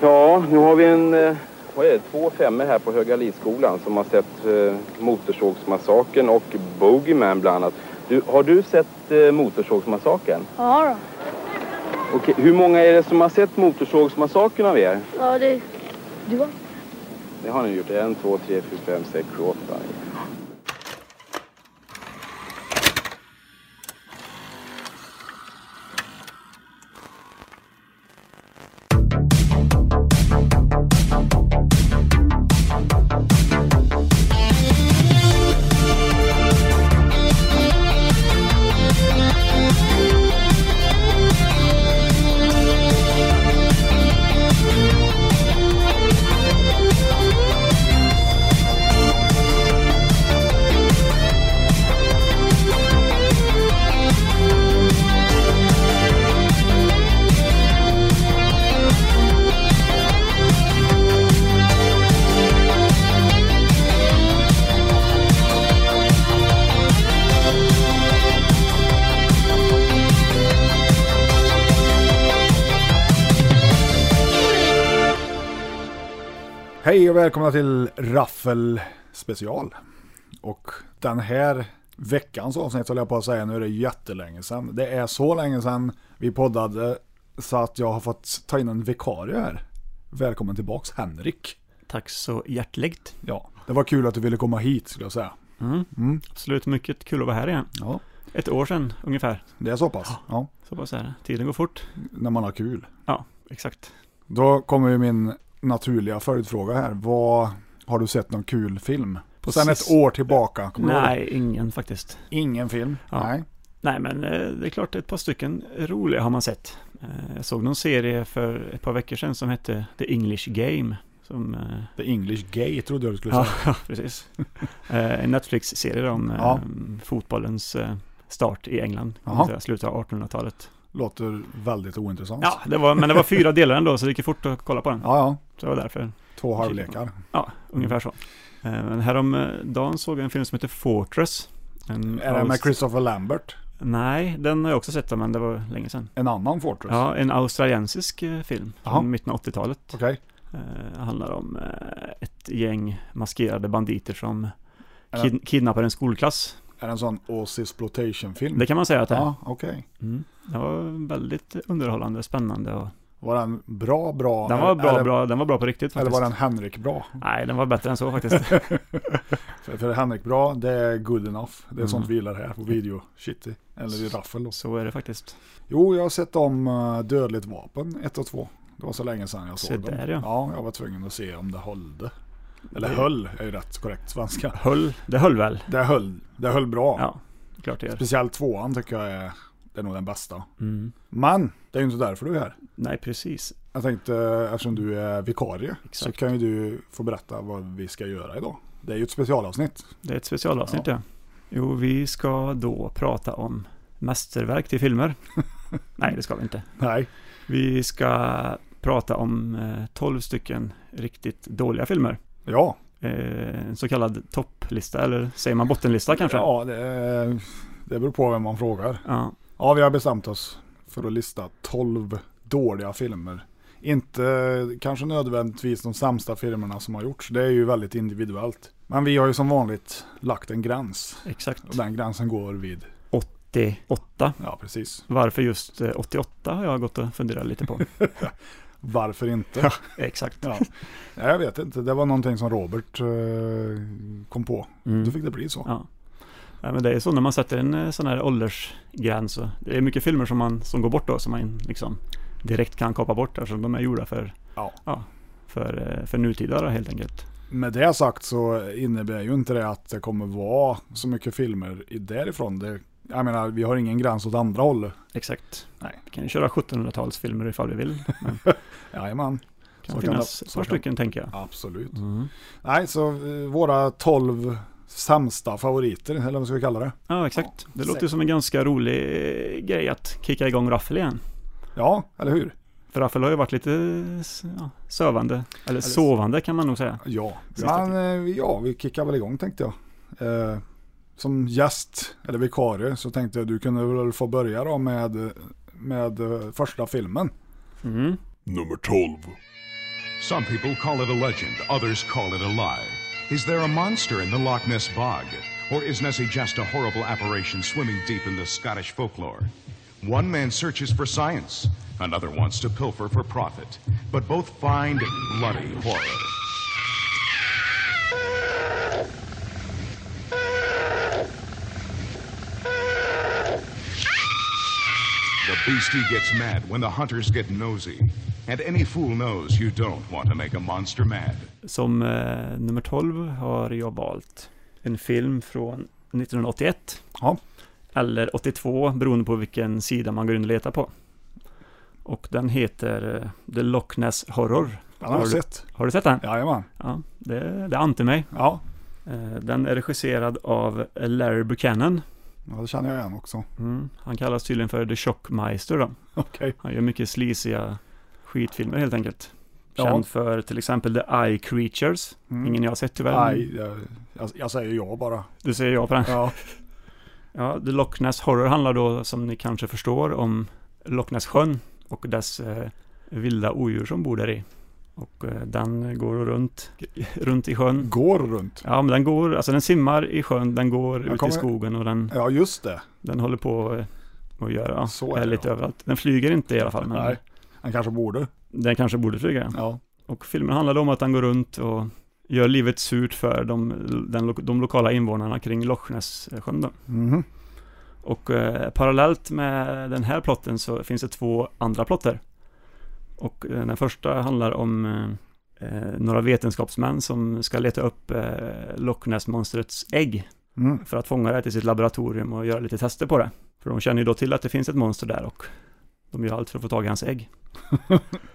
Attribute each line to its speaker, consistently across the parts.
Speaker 1: Ja, nu har vi en, eh, vad är det, två femmor här på Högalidsskolan som har sett eh, Motorsågsmassakern och Bogeyman bland annat. Du, har du sett eh, Motorsågsmassakern?
Speaker 2: Ja
Speaker 1: Okej, hur många är det som har sett Motorsågsmassakern av er?
Speaker 2: då. Ja, det... Du har...
Speaker 1: Det har ni gjort. En, två, tre, fyra, fem, sex, sju, åtta.
Speaker 3: Hej och välkomna till Raffel special. Och den här veckans avsnitt håller jag på att säga, nu är det jättelänge sedan. Det är så länge sedan vi poddade så att jag har fått ta in en vikarie här. Välkommen tillbaks Henrik.
Speaker 4: Tack så hjärtligt.
Speaker 3: Ja, det var kul att du ville komma hit skulle jag säga.
Speaker 4: Mm.
Speaker 3: Mm.
Speaker 4: Absolut, mycket kul att vara här igen.
Speaker 3: Ja.
Speaker 4: Ett år sedan ungefär.
Speaker 3: Det är så pass? Ja,
Speaker 4: Så bara så här, tiden går fort.
Speaker 3: när man har kul.
Speaker 4: Ja, exakt.
Speaker 3: Då kommer ju min naturliga följdfråga här. Vad har du sett någon kul film? Sen ett
Speaker 4: Precis.
Speaker 3: år tillbaka, kommer du ihåg det?
Speaker 4: Nej, ingen faktiskt.
Speaker 3: Ingen film?
Speaker 4: Ja.
Speaker 3: Nej.
Speaker 4: Nej, men eh, det är klart ett par stycken roliga har man sett. Eh, Jag såg någon serie för ett par veckor sedan som hette The English Game. Som, eh,
Speaker 3: The English Gay trodde jag du skulle säga.
Speaker 4: ja, ja, precis. Eh, En Netflix-serie då om eh,
Speaker 3: Ja.
Speaker 4: fotbollens eh, start i England. kan man
Speaker 3: Jaha.
Speaker 4: säga, Slutet av 1800-talet.
Speaker 3: Låter väldigt ointressant.
Speaker 4: Ja, det var, men det var fyra delar ändå, så det gick fort att kolla på den.
Speaker 3: ja. ja.
Speaker 4: Så det var därför.
Speaker 3: Två halvlekar.
Speaker 4: Ja, ungefär så. Eh, Men häromdagen såg jag en film som heter Fortress. En
Speaker 3: Är det med
Speaker 4: aust-
Speaker 3: Christopher Lambert?
Speaker 4: Nej, den har jag också sett, men det var länge sedan.
Speaker 3: En annan Fortress?
Speaker 4: Ja, en australiensisk eh, film
Speaker 3: Jaha.
Speaker 4: från mitten av 80-talet.
Speaker 3: Okej.
Speaker 4: Eh, handlar om eh, ett gäng maskerade banditer som
Speaker 3: Är det-
Speaker 4: kid- kidnappar en skolklass.
Speaker 3: Är det en sån Aussie film
Speaker 4: Det kan man säga att det är.
Speaker 3: Ja, okej.
Speaker 4: Mm. Den var väldigt underhållande, spännande och
Speaker 3: Var den bra, bra?
Speaker 4: den var bra,
Speaker 3: eller,
Speaker 4: bra, den var bra på riktigt
Speaker 3: Eller
Speaker 4: faktiskt.
Speaker 3: var den Henrik bra?
Speaker 4: Nej, den var bättre än så faktiskt.
Speaker 3: För, för Henrik bra, det är good enough. Det är
Speaker 4: Mm.
Speaker 3: sånt vi gillar här på video. Shitty. Eller i raffel. Också.
Speaker 4: så är det faktiskt.
Speaker 3: Jo, jag har sett om eh, Dödligt vapen 1 och 2. Det var så länge sedan jag
Speaker 4: Se
Speaker 3: såg dem.
Speaker 4: där, ja.
Speaker 3: ja, jag var tvungen att se om det hållde. Eller höll, är ju rätt korrekt svenska.
Speaker 4: Höll, det höll väl?
Speaker 3: Det höll, det höll bra.
Speaker 4: Ja, klart det gör.
Speaker 3: Speciellt tvåan tycker jag är, det är nog den bästa.
Speaker 4: Mm.
Speaker 3: Men det är ju inte därför du är här.
Speaker 4: Nej, precis.
Speaker 3: Jag tänkte, eh, eftersom du är vikarie, så
Speaker 4: Exakt.
Speaker 3: kan ju du få berätta vad vi ska göra idag. Det är ju ett specialavsnitt.
Speaker 4: Det är ett specialavsnitt, ja. Jo, vi ska då prata om mästerverk till filmer. Nej, det ska vi inte.
Speaker 3: Nej.
Speaker 4: Vi ska prata om eh, 12 stycken riktigt dåliga filmer.
Speaker 3: Ja.
Speaker 4: Eh, en så kallad topplista, eller säger man bottenlista kanske?
Speaker 3: Ja, det, eh, det beror på vem man frågar.
Speaker 4: Ja,
Speaker 3: Ja, vi har bestämt oss för att lista 12 dåliga filmer. Inte eh, kanske nödvändigtvis de sämsta filmerna som har gjorts. Det är ju väldigt individuellt. Men vi har ju som vanligt lagt en gräns.
Speaker 4: exakt.
Speaker 3: Och den gränsen går vid,
Speaker 4: 88.
Speaker 3: ja precis.
Speaker 4: Varför just eh, 88 har jag gått och funderat lite på.
Speaker 3: Varför inte?
Speaker 4: exakt.
Speaker 3: Ja. Nej, jag vet inte. Det var någonting som Robert eh, kom på.
Speaker 4: Mm.
Speaker 3: Då fick det bli så.
Speaker 4: Ja. Nej, men det är så när man sätter en eh, sån här åldersgräns. så- Det är mycket filmer som, man, som går bort då som man liksom direkt kan kapa bort eftersom de är gjorda för,
Speaker 3: Ja.
Speaker 4: för, eh, för nutida då, helt enkelt.
Speaker 3: Med det sagt så innebär ju inte det att det kommer vara så mycket filmer i- därifrån. Det, jag menar, vi har ingen gräns åt andra hållet.
Speaker 4: Exakt.
Speaker 3: Nej.
Speaker 4: Vi kan ju köra 1700-talsfilmer ifall vi vill. Men
Speaker 3: Jajamän,
Speaker 4: det
Speaker 3: kan
Speaker 4: kan finnas
Speaker 3: det-
Speaker 4: ett
Speaker 3: så
Speaker 4: par
Speaker 3: kan-
Speaker 4: stycken tänker jag.
Speaker 3: absolut.
Speaker 4: Mm.
Speaker 3: Nej, så eh, våra tolv sämsta favoriter, eller vad ska vi kalla det?
Speaker 4: Ja, exakt. Det låter
Speaker 3: säkert.
Speaker 4: som en ganska rolig eh, grej att kicka igång Raffel igen.
Speaker 3: Ja, eller hur?
Speaker 4: För Raffel har ju varit lite eh, s- ja, sövande, eller sovande kan man nog säga.
Speaker 3: Ja,
Speaker 4: Sista
Speaker 3: Men, eh, ja vi kickar väl igång tänkte jag. Eh, som gäst, eller vikarie, så tänkte jag du kunde väl få börja då med, med eh, första filmen.
Speaker 4: Mm.
Speaker 5: Nummer 12. Some people call it a legend, others call it a lie. Is there a monster in the Loch Ness Bog? Or is Nessie just a horrible apparition swimming deep in the Scottish folklore? One man searches for science, another wants to pilfer for profit. But both find bloody horror. The beastie gets mad when the hunters get nosy. And any fool knows you don't want to make a monster mad.
Speaker 4: Som eh, nummer 12 har jag valt en film från 1981
Speaker 3: Ja.
Speaker 4: eller 82 beroende på vilken sida man går in och letar på. Och den heter eh, The Loch Ness Horror.
Speaker 3: Den har
Speaker 4: Har
Speaker 3: jag
Speaker 4: du-
Speaker 3: sett.
Speaker 4: Har du sett den?
Speaker 3: Jajamän.
Speaker 4: Ja, det, det ante mig.
Speaker 3: Ja,
Speaker 4: Eh, Den är regisserad av Larry Buchanan.
Speaker 3: ja, det känner jag igen också.
Speaker 4: Mm. Han kallas tydligen för The Shockmeister då.
Speaker 3: Okej.
Speaker 4: Han gör mycket slisiga skitfilmer helt enkelt.
Speaker 3: Ja.
Speaker 4: Känd för till exempel The Eye Creatures.
Speaker 3: Mm.
Speaker 4: Ingen jag har sett tyvärr.
Speaker 3: Nej, jag, jag, jag säger ja bara.
Speaker 4: Du säger ja på den.
Speaker 3: Ja,
Speaker 4: Ja, The Loch Ness Horror handlar då, som ni kanske förstår, om Loch Ness sjön och dess eh, vilda odjur som bor där i. Och eh, den går runt, runt i sjön.
Speaker 3: går runt.
Speaker 4: Ja, men den går, alltså den simmar i sjön, den går ut
Speaker 3: kommer-
Speaker 4: i skogen och den,
Speaker 3: Ja, just det.
Speaker 4: den håller på eh, att göra
Speaker 3: Så är
Speaker 4: eh,
Speaker 3: det,
Speaker 4: lite
Speaker 3: ja.
Speaker 4: överallt. Den flyger inte i alla fall, men
Speaker 3: Nej, han kanske borde.
Speaker 4: den kanske borde flyga.
Speaker 3: Ja.
Speaker 4: Och filmen handlar om att han går runt och gör livet surt för de, den, lo- de lokala invånarna kring Loch Ness-sjön då.
Speaker 3: Mhm.
Speaker 4: Och eh, parallellt med den här plotten så finns det två andra plotter. Och eh, den första handlar om eh, eh, några vetenskapsmän som ska leta upp eh, Loch Ness-monstrets ägg
Speaker 3: Mm.
Speaker 4: för att fånga det till sitt laboratorium och göra lite tester på det. För de känner ju då till att det finns ett monster där och de gör allt för att få tag i hans ägg.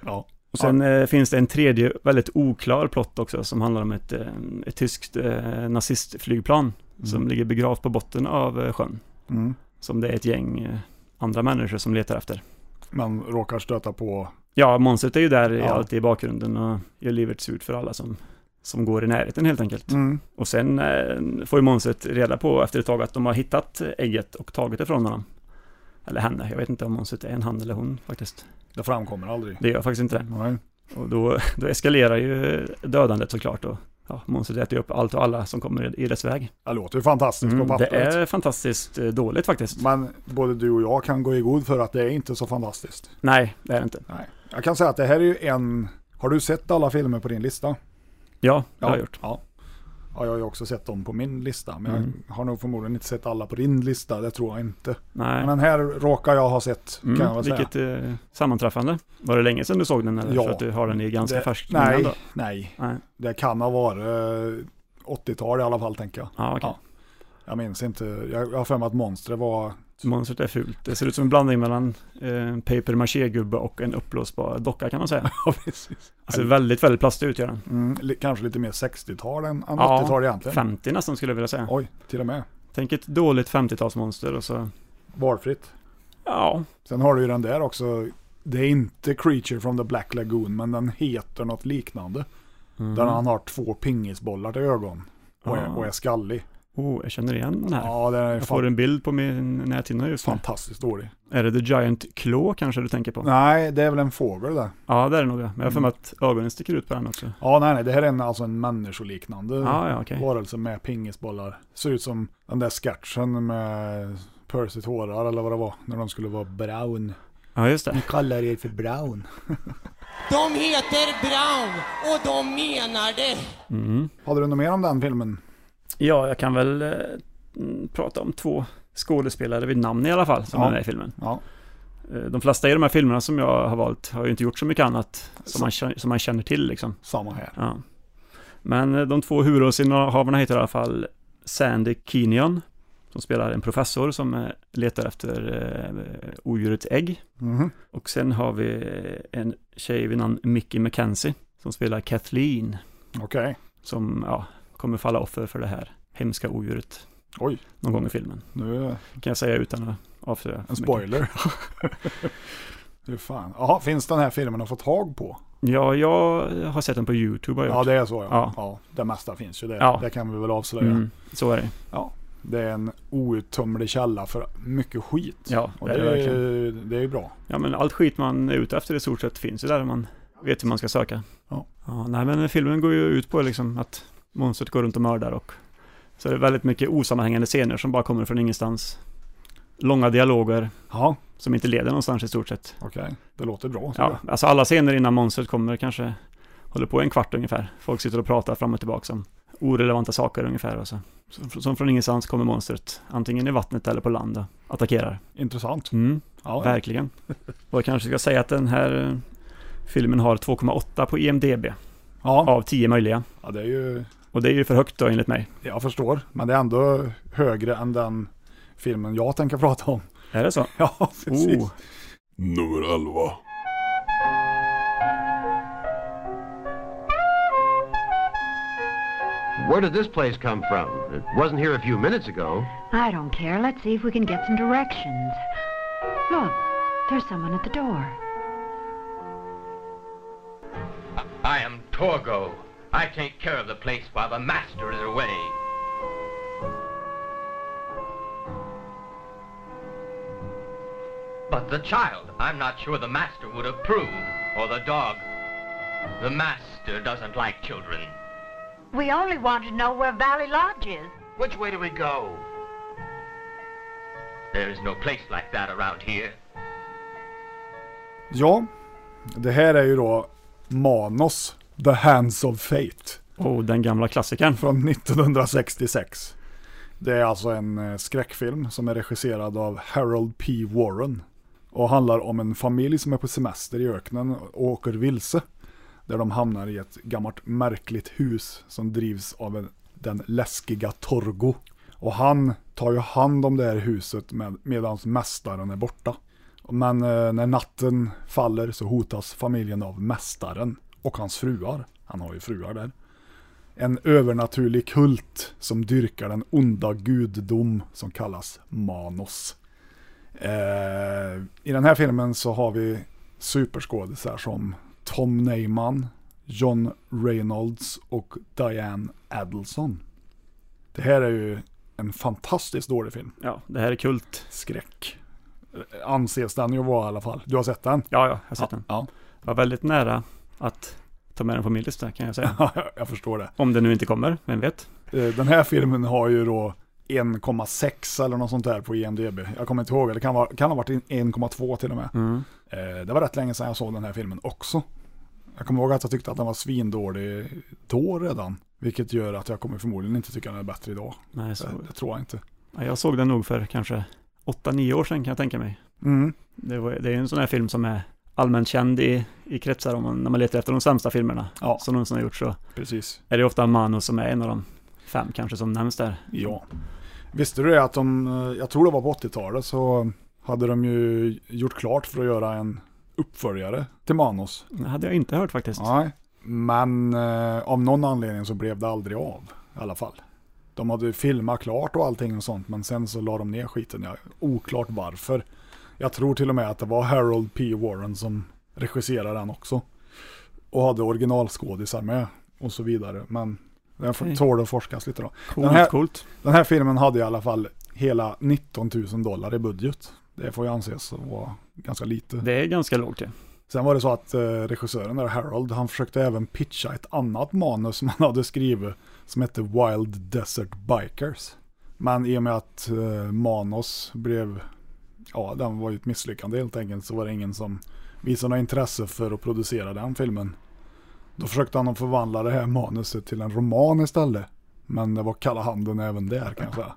Speaker 3: Ja.
Speaker 4: Och sen eh, finns det en tredje väldigt oklar plott också som handlar om ett, eh, ett tyskt eh, nazistflygplan som ligger begravt på botten av eh, sjön
Speaker 3: Mm.
Speaker 4: som det är ett gäng eh, andra människor som letar efter.
Speaker 3: Men råkar stöta på...
Speaker 4: Ja, monstret är ju där
Speaker 3: Ja.
Speaker 4: alltid i bakgrunden och gör livet surt för alla som, som går i närheten helt enkelt.
Speaker 3: Mm.
Speaker 4: Och sen eh, får ju monstret reda på efter ett tag att de har hittat ägget och tagit det från honom. Eller henne, jag vet inte om monstret är en han eller hon faktiskt.
Speaker 3: Det framkommer aldrig.
Speaker 4: Det gör faktiskt inte det.
Speaker 3: Nej.
Speaker 4: Och då, då eskalerar ju dödandet såklart och ja, monstret äter ju upp allt och alla som kommer i dess väg.
Speaker 3: Det låter ju fantastiskt
Speaker 4: Mm,
Speaker 3: på
Speaker 4: det
Speaker 3: pappret.
Speaker 4: är fantastiskt eh, dåligt faktiskt.
Speaker 3: Men både du och jag kan gå i god för att det är inte så fantastiskt.
Speaker 4: Nej, det är det inte.
Speaker 3: Nej. Jag kan säga att det här är ju en... Har du sett alla filmer på din lista?
Speaker 4: Ja, det har jag gjort.
Speaker 3: Ja. ja, jag har ju också sett dem på min lista. Men jag har nog förmodligen inte sett alla på din lista, det tror jag inte.
Speaker 4: Mm. Nej.
Speaker 3: Men här råkar jag ha sett, kan jag
Speaker 4: Mm,
Speaker 3: väl säga.
Speaker 4: vilket eh, sammanträffande. Var det länge sedan du såg den eller?
Speaker 3: Ja.
Speaker 4: För att du har den i ganska
Speaker 3: Det-
Speaker 4: färskt minne
Speaker 3: nej,
Speaker 4: ändå?
Speaker 3: nej,
Speaker 4: Nej.
Speaker 3: det kan ha varit eh, 80-tal i alla fall, tänker jag.
Speaker 4: Ja, okej.
Speaker 3: Ja. Jag minns inte, jag jag har för mig att monstret var...
Speaker 4: Monstret är fult. Det ser ut som en blandning mellan eh, paper maché-gubbe och en uppblåsbar docka kan man säga.
Speaker 3: Ja, precis.
Speaker 4: Alltså väldigt, väldigt plastig ut gör den.
Speaker 3: Mm, li- kanske lite mer 60-tal än, än
Speaker 4: Ja,
Speaker 3: 80-tal egentligen.
Speaker 4: 50 nästan skulle jag vilja säga.
Speaker 3: Oj, till och med.
Speaker 4: Tänk ett dåligt 50-talsmonster och så,
Speaker 3: Valfritt.
Speaker 4: ja,
Speaker 3: Sen har du ju den där också. Det är inte Creature from the Black Lagoon, men den heter något liknande. Där han har två pingisbollar till ögon och är,
Speaker 4: Ja.
Speaker 3: och är skallig.
Speaker 4: oh, jag känner igen den här.
Speaker 3: Ja, den är
Speaker 4: jag får
Speaker 3: fan,
Speaker 4: en bild på min näthinna just nu.
Speaker 3: fantastiskt dålig.
Speaker 4: Är det The Giant Claw kanske du tänker på?
Speaker 3: Nej, Mm. det är väl en fågel det.
Speaker 4: Ja, det är det nog ja. Men jag har för mig att ögonen sticker ut på den också.
Speaker 3: Ja, nej, nej, det här är en, alltså en människoliknande
Speaker 4: Ja, ja, okej.
Speaker 3: varelse med pingisbollar. Ser ut som den där sketchen med Percy tårar eller vad det var, när de skulle vara brown.
Speaker 4: Ja, just det.
Speaker 3: Kallar er för brown.
Speaker 6: De heter Brown och de menar det.
Speaker 3: Hade du något mer om den filmen?
Speaker 4: Ja, jag kan väl eh, mm, prata om två skådespelare vid namn i alla fall som
Speaker 3: Ja.
Speaker 4: är med i filmen.
Speaker 3: Ja,
Speaker 4: Eh, De flesta i de här filmerna som jag har valt har ju inte gjort så mycket annat som man, känner- som man känner till liksom.
Speaker 3: samma här.
Speaker 4: Ja. Men eh, de två huvudrollsinnehavarna heter i alla fall Sandy Kinion som spelar en professor som eh, letar efter eh, odjuret ägg.
Speaker 3: Mhm.
Speaker 4: Och sen har vi eh, en tjej vid namn Mickey McKenzie som spelar Kathleen
Speaker 3: Okej,
Speaker 4: som ja, kommer falla offer för det här hemska odjuret
Speaker 3: Oj.
Speaker 4: någon gång i filmen.
Speaker 3: nu
Speaker 4: Kan jag säga utan att avslöja. för
Speaker 3: En
Speaker 4: mycket.
Speaker 3: spoiler. Hur fan. Jaha, finns den här filmen att få tag på?
Speaker 4: Ja, jag har sett den på YouTube har jag
Speaker 3: Ja,
Speaker 4: gjort.
Speaker 3: det är så ja.
Speaker 4: Ja.
Speaker 3: ja. det mesta finns ju där.
Speaker 4: Ja.
Speaker 3: Det kan vi väl avslöja.
Speaker 4: mm, Så är det.
Speaker 3: Ja, det är en outtömlig källa för mycket skit.
Speaker 4: Ja,
Speaker 3: Och
Speaker 4: det
Speaker 3: det,
Speaker 4: är det
Speaker 3: är
Speaker 4: verkligen.
Speaker 3: ju, det är ju bra.
Speaker 4: Ja, men allt skit man är ute efter i stort sett finns ju där om man vet hur man ska söka.
Speaker 3: Ja.
Speaker 4: Ja, nej, men filmen går ju ut på liksom att monstret går runt och mördar och så är det väldigt mycket osammanhängande scener som bara kommer från ingenstans. Långa dialoger
Speaker 3: Ja,
Speaker 4: som inte leder någonstans i stort sett.
Speaker 3: okej. Det låter bra. så
Speaker 4: Ja,
Speaker 3: det.
Speaker 4: alltså alla scener innan monstret kommer kanske håller på en kvart ungefär. Folk sitter och pratar fram och tillbaka om orelevanta saker ungefär och så. Som- Som från ingenstans kommer monstret, antingen i vattnet eller på land och attackerar.
Speaker 3: Intressant.
Speaker 4: Mm,
Speaker 3: Ja,
Speaker 4: verkligen. Och jag kanske ska säga att den här eh, filmen har 2,8 på IMDB
Speaker 3: ja.
Speaker 4: av 10 möjliga.
Speaker 3: ja, det är ju...
Speaker 4: Och det är ju för högt då enligt mig.
Speaker 3: Jag förstår. Men det är ändå högre än den filmen jag tänker prata om.
Speaker 4: Är det så?
Speaker 3: Ja, precis.
Speaker 4: Oh,
Speaker 7: Nummer 11.
Speaker 8: Where did this place come from? It wasn't here a few minutes ago.
Speaker 9: I don't care. Let's see if we can get some directions. Look, there's someone at the door.
Speaker 6: I am Torgo. I take care of the place while the master is away. But the child, I'm not sure the master would approve, or the dog. The master doesn't like children.
Speaker 9: We only want to know where Valley Lodge is.
Speaker 8: Which way do we go?
Speaker 6: There is no place like that around here.
Speaker 3: Ja, det här är ju då Manos, The Hands of Fate,
Speaker 4: oh den gamla klassikern.
Speaker 3: från 1966. Det är alltså en eh, skräckfilm som är regisserad av Harold P. Warren och handlar om en familj som är på semester i öknen och åker vilse. Där de hamnar i ett gammalt märkligt hus som drivs av en, den läskiga Torgo. Och han tar ju hand om det här huset med, medan mästaren är borta. Men eh, när natten faller så hotas familjen av mästaren och hans fruar. Han har ju fruar där. En övernaturlig kult som dyrkar den onda gudom som kallas Manos. Eh, I den här filmen så har vi superskådisar som Tom Neyman, John Reynolds och Diane Adelson. Det här är ju en fantastiskt dålig film.
Speaker 4: Ja, det här är kult.
Speaker 3: Skräck. Eh, Anses den ju vara i alla fall. Du har sett den?
Speaker 4: Ja, ja, jag har sett den.
Speaker 3: Ja,
Speaker 4: Var väldigt nära att ta med den på min lista kan jag säga.
Speaker 3: ja jag förstår det.
Speaker 4: Om den nu inte kommer, vem vet?
Speaker 3: Eh, Den här filmen har ju då 1,6 eller något sånt där på IMDB. Jag kommer inte ihåg, det kan, vara, kan ha varit en- 1,2 till och med. Eh, Det var rätt länge sedan jag såg den här filmen också. Jag kommer ihåg att jag tyckte att den var svindålig då redan. Vilket gör att jag kommer förmodligen inte tycka den är bättre idag.
Speaker 4: Nej, så,
Speaker 3: Det, det tror jag inte.
Speaker 4: ja, jag såg den nog för kanske 8-9 år sedan kan jag tänka mig.
Speaker 3: Mm.
Speaker 4: Det, var, det är ju en sån här film som är allmänt känd i, i kretsar om man, när man letar efter de sämsta filmerna
Speaker 3: Ja.
Speaker 4: som någonsin har gjorts så
Speaker 3: Precis.
Speaker 4: är det ofta Mano som är en av de fem kanske som nämns där.
Speaker 3: Ja. Visste du det att de, eh, jag tror det var på 80-talet, så hade de ju gjort klart för att göra en uppföljare till Manos.
Speaker 4: Det hade jag inte hört faktiskt.
Speaker 3: Nej, men eh, av någon anledning så blev det aldrig av i alla fall. De hade ju filmat klart och allting och sånt, men sen så la de ner skiten. Jag, oklart varför. Jag tror till och med att det var Harold P. Warren som regisserade den också. Och hade originalskådisar med och så vidare. Men den får-
Speaker 4: Okej.
Speaker 3: tål att forskas lite då.
Speaker 4: Coolt,
Speaker 3: den här-
Speaker 4: coolt.
Speaker 3: Den här filmen hade i alla fall hela 19 000 dollar i budget. Det får ju anses vara ganska lite.
Speaker 4: Det är ganska lågt ju.
Speaker 3: Sen var det så att eh, regissören där, Harold, han försökte även pitcha ett annat manus som han hade skrivit som hette Wild Desert Bikers. Men i och med att eh, Manos blev, ja den var ju ett misslyckande helt enkelt, så var det ingen som visade något intresse för att producera den filmen. Då försökte han att förvandla det här manuset till en roman istället. Men det var kalla handen även där kan jag säga.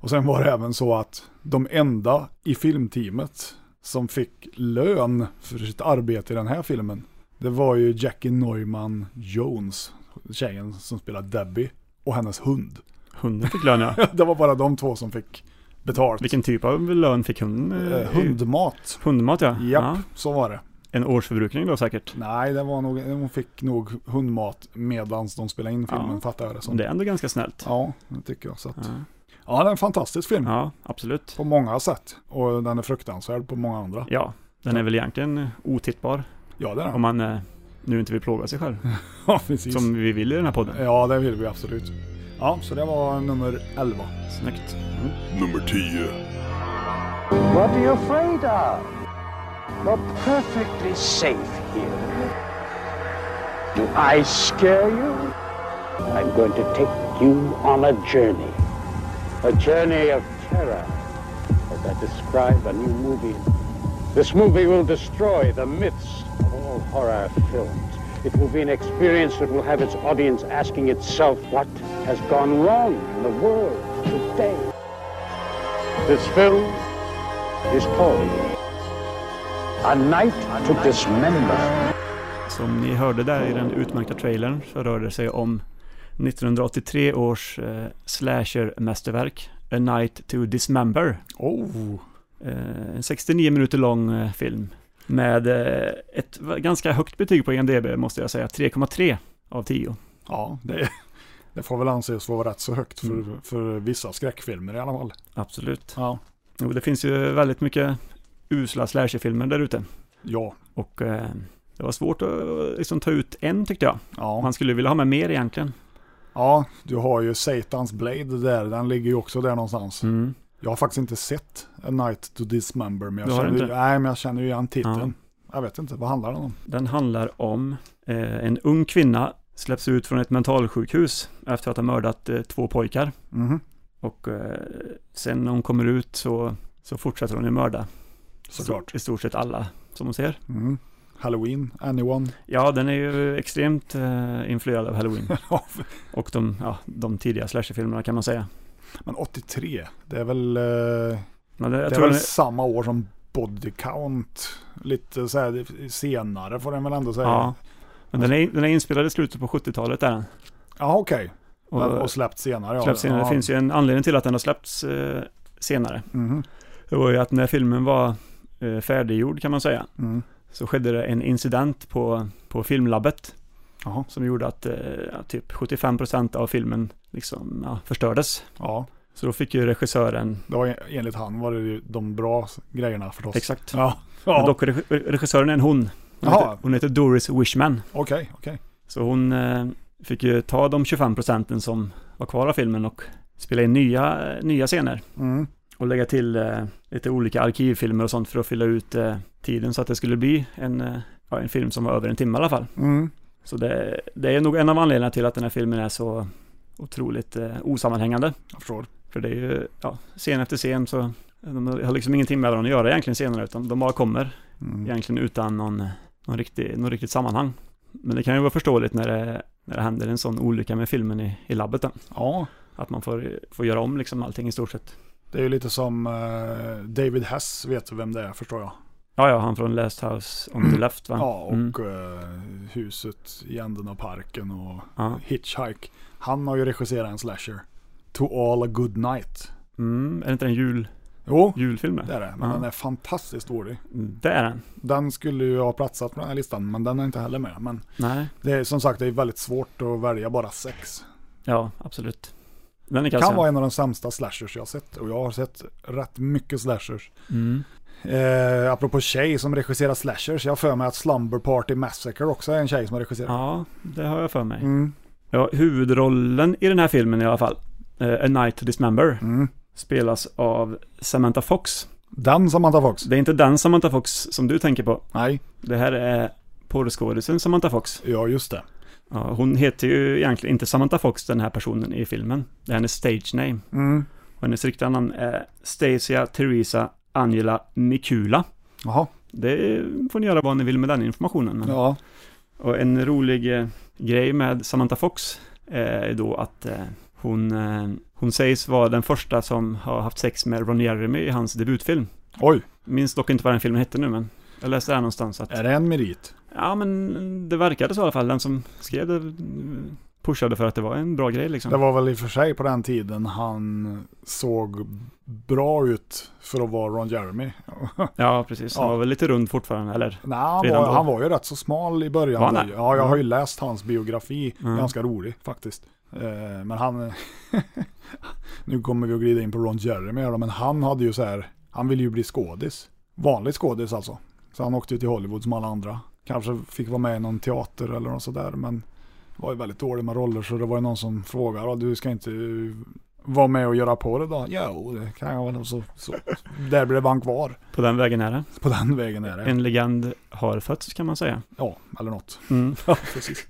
Speaker 3: Och sen var det även så att de enda i filmteamet som fick lön för sitt arbete i den här filmen, det var ju Jackie Neumann Jones, tjejen som spelar Debbie, och hennes hund.
Speaker 4: Hunden fick lön ja.
Speaker 3: Det var bara de två som fick betalt.
Speaker 4: Vilken typ av lön fick hunden?
Speaker 3: Eh, hundmat.
Speaker 4: Hundmat ja.
Speaker 3: Japp,
Speaker 4: ja.
Speaker 3: så var det.
Speaker 4: En årsförbrukning då säkert.
Speaker 3: Nej, det var nog, hon fick nog hundmat medans de spelade in filmen,
Speaker 4: Ja.
Speaker 3: fattar jag det som.
Speaker 4: Det är ändå ganska snällt.
Speaker 3: Ja, det tycker jag. Så att...
Speaker 4: Ja.
Speaker 3: Ja, det är en fantastisk film.
Speaker 4: Ja, absolut.
Speaker 3: På många sätt. Och den är fruktansvärd på många andra.
Speaker 4: Ja, den är väl egentligen otittbar.
Speaker 3: Ja, det är den.
Speaker 4: Om man eh, nu inte vill plåga sig själv.
Speaker 3: Ja, precis.
Speaker 4: Som vi vill i den här podden.
Speaker 3: Ja, det vill vi absolut. Ja, så det var nummer 11.
Speaker 4: Snyggt.
Speaker 7: Nummer 10.
Speaker 10: What are you afraid of? You're perfectly safe here. Do I scare you? I'm going to take you on a journey. A journey of terror. As I describe a new movie. This movie will destroy the myths of all horror films. It will be an experience that will have its audience asking itself what has gone wrong in the world today. This film is called A Night to Dismember.
Speaker 4: Som ni hörde där i den utmärkta trailern så rör det sig om 1983 års eh, slasher-mästerverk A Night to Dismember.
Speaker 3: Oh,
Speaker 4: Eh, en 69 minuter lång eh, film med eh, ett va- ganska högt betyg på E IMDB måste jag säga, 3,3 av 10.
Speaker 3: ja, det, det får väl anses vara rätt så högt för, för vissa skräckfilmer i alla fall.
Speaker 4: Absolut.
Speaker 3: Mm. Ja,
Speaker 4: Jo, det finns ju väldigt mycket usla slasherfilmer där ute
Speaker 3: ja,
Speaker 4: och eh, det var svårt att eh, liksom, ta ut en tyckte jag.
Speaker 3: ja.
Speaker 4: Man skulle vilja ha med mer egentligen.
Speaker 3: ja du har ju Satans Blade där, den ligger ju också där någonstans.
Speaker 4: Mm.
Speaker 3: Jag har faktiskt inte sett A Night to Dismember, men
Speaker 4: Du
Speaker 3: jag,
Speaker 4: har
Speaker 3: känner, ju-
Speaker 4: inte?
Speaker 3: nej, men jag känner ju igen titeln. Jag vet inte, vad handlar den om?
Speaker 4: Den handlar om eh, en ung kvinna släpps ut från ett mentalsjukhus efter att ha mördat eh, två pojkar.
Speaker 3: Mhm.
Speaker 4: Och eh, sen när hon kommer ut så, så fortsätter hon ju mörda.
Speaker 3: Såklart.
Speaker 4: I stort sett alla som hon ser.
Speaker 3: Mhm. Halloween, anyone?
Speaker 4: Ja, den är ju extremt eh, influerad av Halloween.
Speaker 3: Ja,
Speaker 4: och de, ja, de tidiga slasherfilmerna kan man säga.
Speaker 3: men 83, det är väl, eh,
Speaker 4: Men det,
Speaker 3: det
Speaker 4: jag
Speaker 3: är
Speaker 4: tror
Speaker 3: väl
Speaker 4: den,
Speaker 3: samma år som Body Count. Lite så här, senare får den väl ändå säga.
Speaker 4: ja, men den är, den är inspelad i slutet på 70-talet är den.
Speaker 3: Ja, okej.
Speaker 4: Och,
Speaker 3: Och, och släppt senare. ja.
Speaker 4: släpps senare.
Speaker 3: ja.
Speaker 4: Det finns ju en anledning till att den har släppts eh, senare.
Speaker 3: Mhm,
Speaker 4: Det var ju att när filmen var eh, färdiggjord kan man säga,
Speaker 3: mm.
Speaker 4: så skedde det en incident på, på filmlabbet
Speaker 3: Jaha.
Speaker 4: som gjorde att eh, ja, typ 75% av filmen liksom, ja, förstördes.
Speaker 3: Ja,
Speaker 4: Så då fick ju regissören,
Speaker 3: det var en- enligt han var det ju de bra s- grejerna förstås.
Speaker 4: exakt,
Speaker 3: Ja,
Speaker 4: Men
Speaker 3: ja.
Speaker 4: dock reg- regissören är en hon. Hon
Speaker 3: Jaha.
Speaker 4: heter, hon heter Doris Wishman.
Speaker 3: okej, okej.
Speaker 4: Så hon eh, fick ju ta de 25 procenten som var kvar av filmen och spela in nya, eh, nya scener.
Speaker 3: Mm.
Speaker 4: Och lägga till eh, lite olika arkivfilmer och sånt för att fylla ut eh, tiden så att det skulle bli en, eh, ja, en film som var över en timme i alla fall.
Speaker 3: Mm.
Speaker 4: Så det, det är nog en av anledningarna till att den här filmen är så otroligt eh, osammanhängande.
Speaker 3: Jag förstår.
Speaker 4: För det är ju, ja, scen efter scen så de har liksom ingenting med varandra att göra egentligen senare utan de bara kommer
Speaker 3: Mm.
Speaker 4: egentligen utan någon, någon, riktig, någon riktigt sammanhang. Men det kan ju vara förståeligt när det, när det händer en sån olycka med filmen i, i labbet. Då.
Speaker 3: Ja,
Speaker 4: Att man får, får göra om liksom allting i stort sett.
Speaker 3: det är ju lite som eh, David Hess vet du vem det är förstår jag.
Speaker 4: Ja, ja, han från Last House on the Left va?
Speaker 3: Ja, och
Speaker 4: Mm,
Speaker 3: eh, huset i änden av parken och
Speaker 4: ja.
Speaker 3: Hitchhike. Han har ju regisserat en slasher. To all a good night.
Speaker 4: Mm, är det inte en jul,
Speaker 3: Jo,
Speaker 4: julfilm?
Speaker 3: det är det. Men
Speaker 4: Ja.
Speaker 3: den är fantastiskt dålig.
Speaker 4: Det är den.
Speaker 3: Den skulle ju ha platsat på den här listan, men den är inte heller med. Men
Speaker 4: Nej,
Speaker 3: det är som sagt, det är väldigt svårt att välja bara sex.
Speaker 4: ja, absolut. Den är
Speaker 3: Det
Speaker 4: kanske...
Speaker 3: kan vara en av de sämsta slashers jag har sett. Och jag har sett rätt mycket slashers.
Speaker 4: mm.
Speaker 3: Eh, apropå tjej som regisserar slashers, jag har för mig att Slumber Party Massacre också är en tjej som har regisserat.
Speaker 4: Ja, det har jag för mig.
Speaker 3: Mm,
Speaker 4: Ja, huvudrollen i den här filmen i alla fall, eh, A Night to Dismember,
Speaker 3: mm.
Speaker 4: spelas av Samantha Fox.
Speaker 3: Den Samantha Fox?
Speaker 4: Det är inte den Samantha Fox som du tänker på.
Speaker 3: Nej,
Speaker 4: Det här är porrskådisen Samantha Fox.
Speaker 3: ja just det.
Speaker 4: Ja, hon heter ju egentligen inte Samantha Fox, den här personen i filmen. Det är hennes stage name.
Speaker 3: Mm.
Speaker 4: Och hennes riktiga namn är Stacia Teresa Angela Mikula.
Speaker 3: Jaha,
Speaker 4: Det får ni göra vad ni vill med den informationen. men-
Speaker 3: ja.
Speaker 4: Och en rolig eh, grej med Samantha Fox eh, är då att eh, hon, eh, hon sägs vara den första som har haft sex med Ron Jeremy i hans debutfilm.
Speaker 3: Oj,
Speaker 4: Minns dock inte vad den filmen hette nu, men jag läste det här någonstans att
Speaker 3: är det en merit?
Speaker 4: Ja, men det verkade så i alla fall. Den som skrev det eh, pushade för att det var en bra grej liksom.
Speaker 3: Det var väl i och för sig på den tiden han såg bra ut för att vara Ron Jeremy.
Speaker 4: Ja, precis. Han
Speaker 3: Ja.
Speaker 4: var väl lite rund fortfarande, eller?
Speaker 3: Nej, han,
Speaker 4: Typ. Redan
Speaker 3: var,
Speaker 4: då?
Speaker 3: han var ju rätt så smal i början.
Speaker 4: Var han
Speaker 3: där.
Speaker 4: det?
Speaker 3: Ja, jag har ju
Speaker 4: Mm.
Speaker 3: läst hans biografi.
Speaker 4: Mm.
Speaker 3: Ganska rolig faktiskt. Eh, men han... nu kommer vi att glida in på Ron Jeremy här då, men han hade ju så här... Han ville ju bli skådis. Vanlig skådis alltså. Så han åkte ju till Hollywood som alla andra. Kanske fick vara med i någon teater eller något sådär, men var ju väldigt dålig med roller så det var ju någon som frågade, "Ah, du ska inte vara med och göra på det då? Jo, det kan jag väl. Så, så. Där blev han kvar.
Speaker 4: På den vägen är det.
Speaker 3: På den vägen är det.
Speaker 4: En legend har fötts kan man säga.
Speaker 3: Ja, eller något.
Speaker 4: Mm.
Speaker 3: Ja, precis.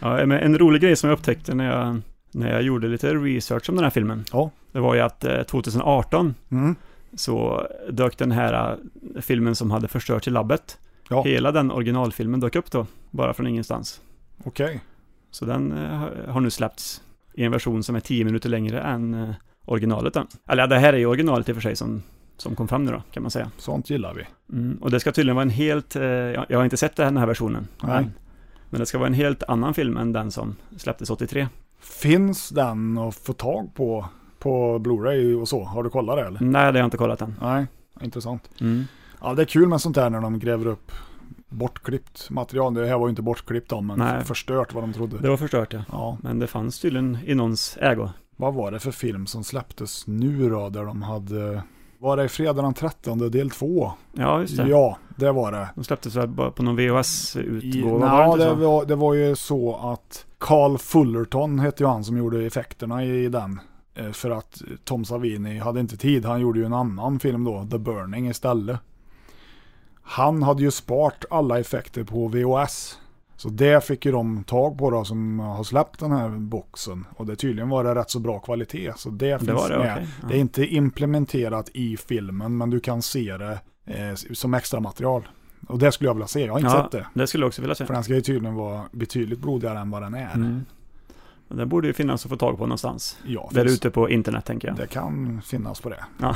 Speaker 4: Ja, men en rolig grej som jag upptäckte när jag, när jag gjorde lite research om den här filmen.
Speaker 3: Ja.
Speaker 4: Det var ju att eh, 2018
Speaker 3: Mm.
Speaker 4: så dök den här eh, filmen som hade förstörts i labbet.
Speaker 3: Ja.
Speaker 4: Hela den originalfilmen dök upp då, bara från ingenstans.
Speaker 3: Okej.
Speaker 4: Så den eh, har- har nu släppts i en version som är 10 minuter längre än eh, originalet. Då. Eller ja, det här är ju originalet i och för sig som, som kom fram nu då, kan man säga.
Speaker 3: Sånt gillar vi.
Speaker 4: Mm, och det ska tydligen vara en helt, eh, jag jag har inte sett den här versionen.
Speaker 3: Nej.
Speaker 4: Men, men det ska vara en helt annan film än den som släpptes 83.
Speaker 3: Finns den att få tag på på Blu-ray och så? Har du kollat det eller?
Speaker 4: Nej, det har jag inte kollat än.
Speaker 3: Nej, intressant.
Speaker 4: Mm.
Speaker 3: Ja, det är kul med sånt här när de gräver upp bortklippt material. Det här var ju inte bortklippt då, men
Speaker 4: Nej.
Speaker 3: förstört vad de trodde.
Speaker 4: Det var förstört ja.
Speaker 3: Ja,
Speaker 4: Men det fanns tydligen i någons ägo.
Speaker 3: vad var det för film som släpptes nu då, där de hade... Var det Fredag den 13 del 2?
Speaker 4: Ja, just det.
Speaker 3: Ja, det var det.
Speaker 4: De släpptes väl bara på någon
Speaker 3: I,
Speaker 4: VHS-utgåva?
Speaker 3: nej,
Speaker 4: var det
Speaker 3: det,
Speaker 4: inte så?
Speaker 3: var, det var ju så att Carl Fullerton hette ju han som gjorde effekterna i den. Eh, För att Tom Savini hade inte tid. Han gjorde ju en annan film då, The Burning istället. Han hade ju sparat alla effekter på VHS. Så det fick ju de tag på då som har släppt den här boxen. Och det tydligen var det rätt så bra kvalitet. Så det finns
Speaker 4: var det,
Speaker 3: med.
Speaker 4: okej. Ja.
Speaker 3: Det är inte implementerat i filmen men du kan se det eh, som extra material. Och det skulle jag vilja se, jag har inte
Speaker 4: ja,
Speaker 3: sett det.
Speaker 4: det skulle jag också vilja se.
Speaker 3: För den ska ju tydligen vara betydligt blodigare än vad den är.
Speaker 4: Mm. Men Den borde ju finnas att få tag på någonstans.
Speaker 3: Ja,
Speaker 4: Där
Speaker 3: finns-
Speaker 4: ute på internet tänker jag.
Speaker 3: Det kan finnas på det.
Speaker 4: Ja.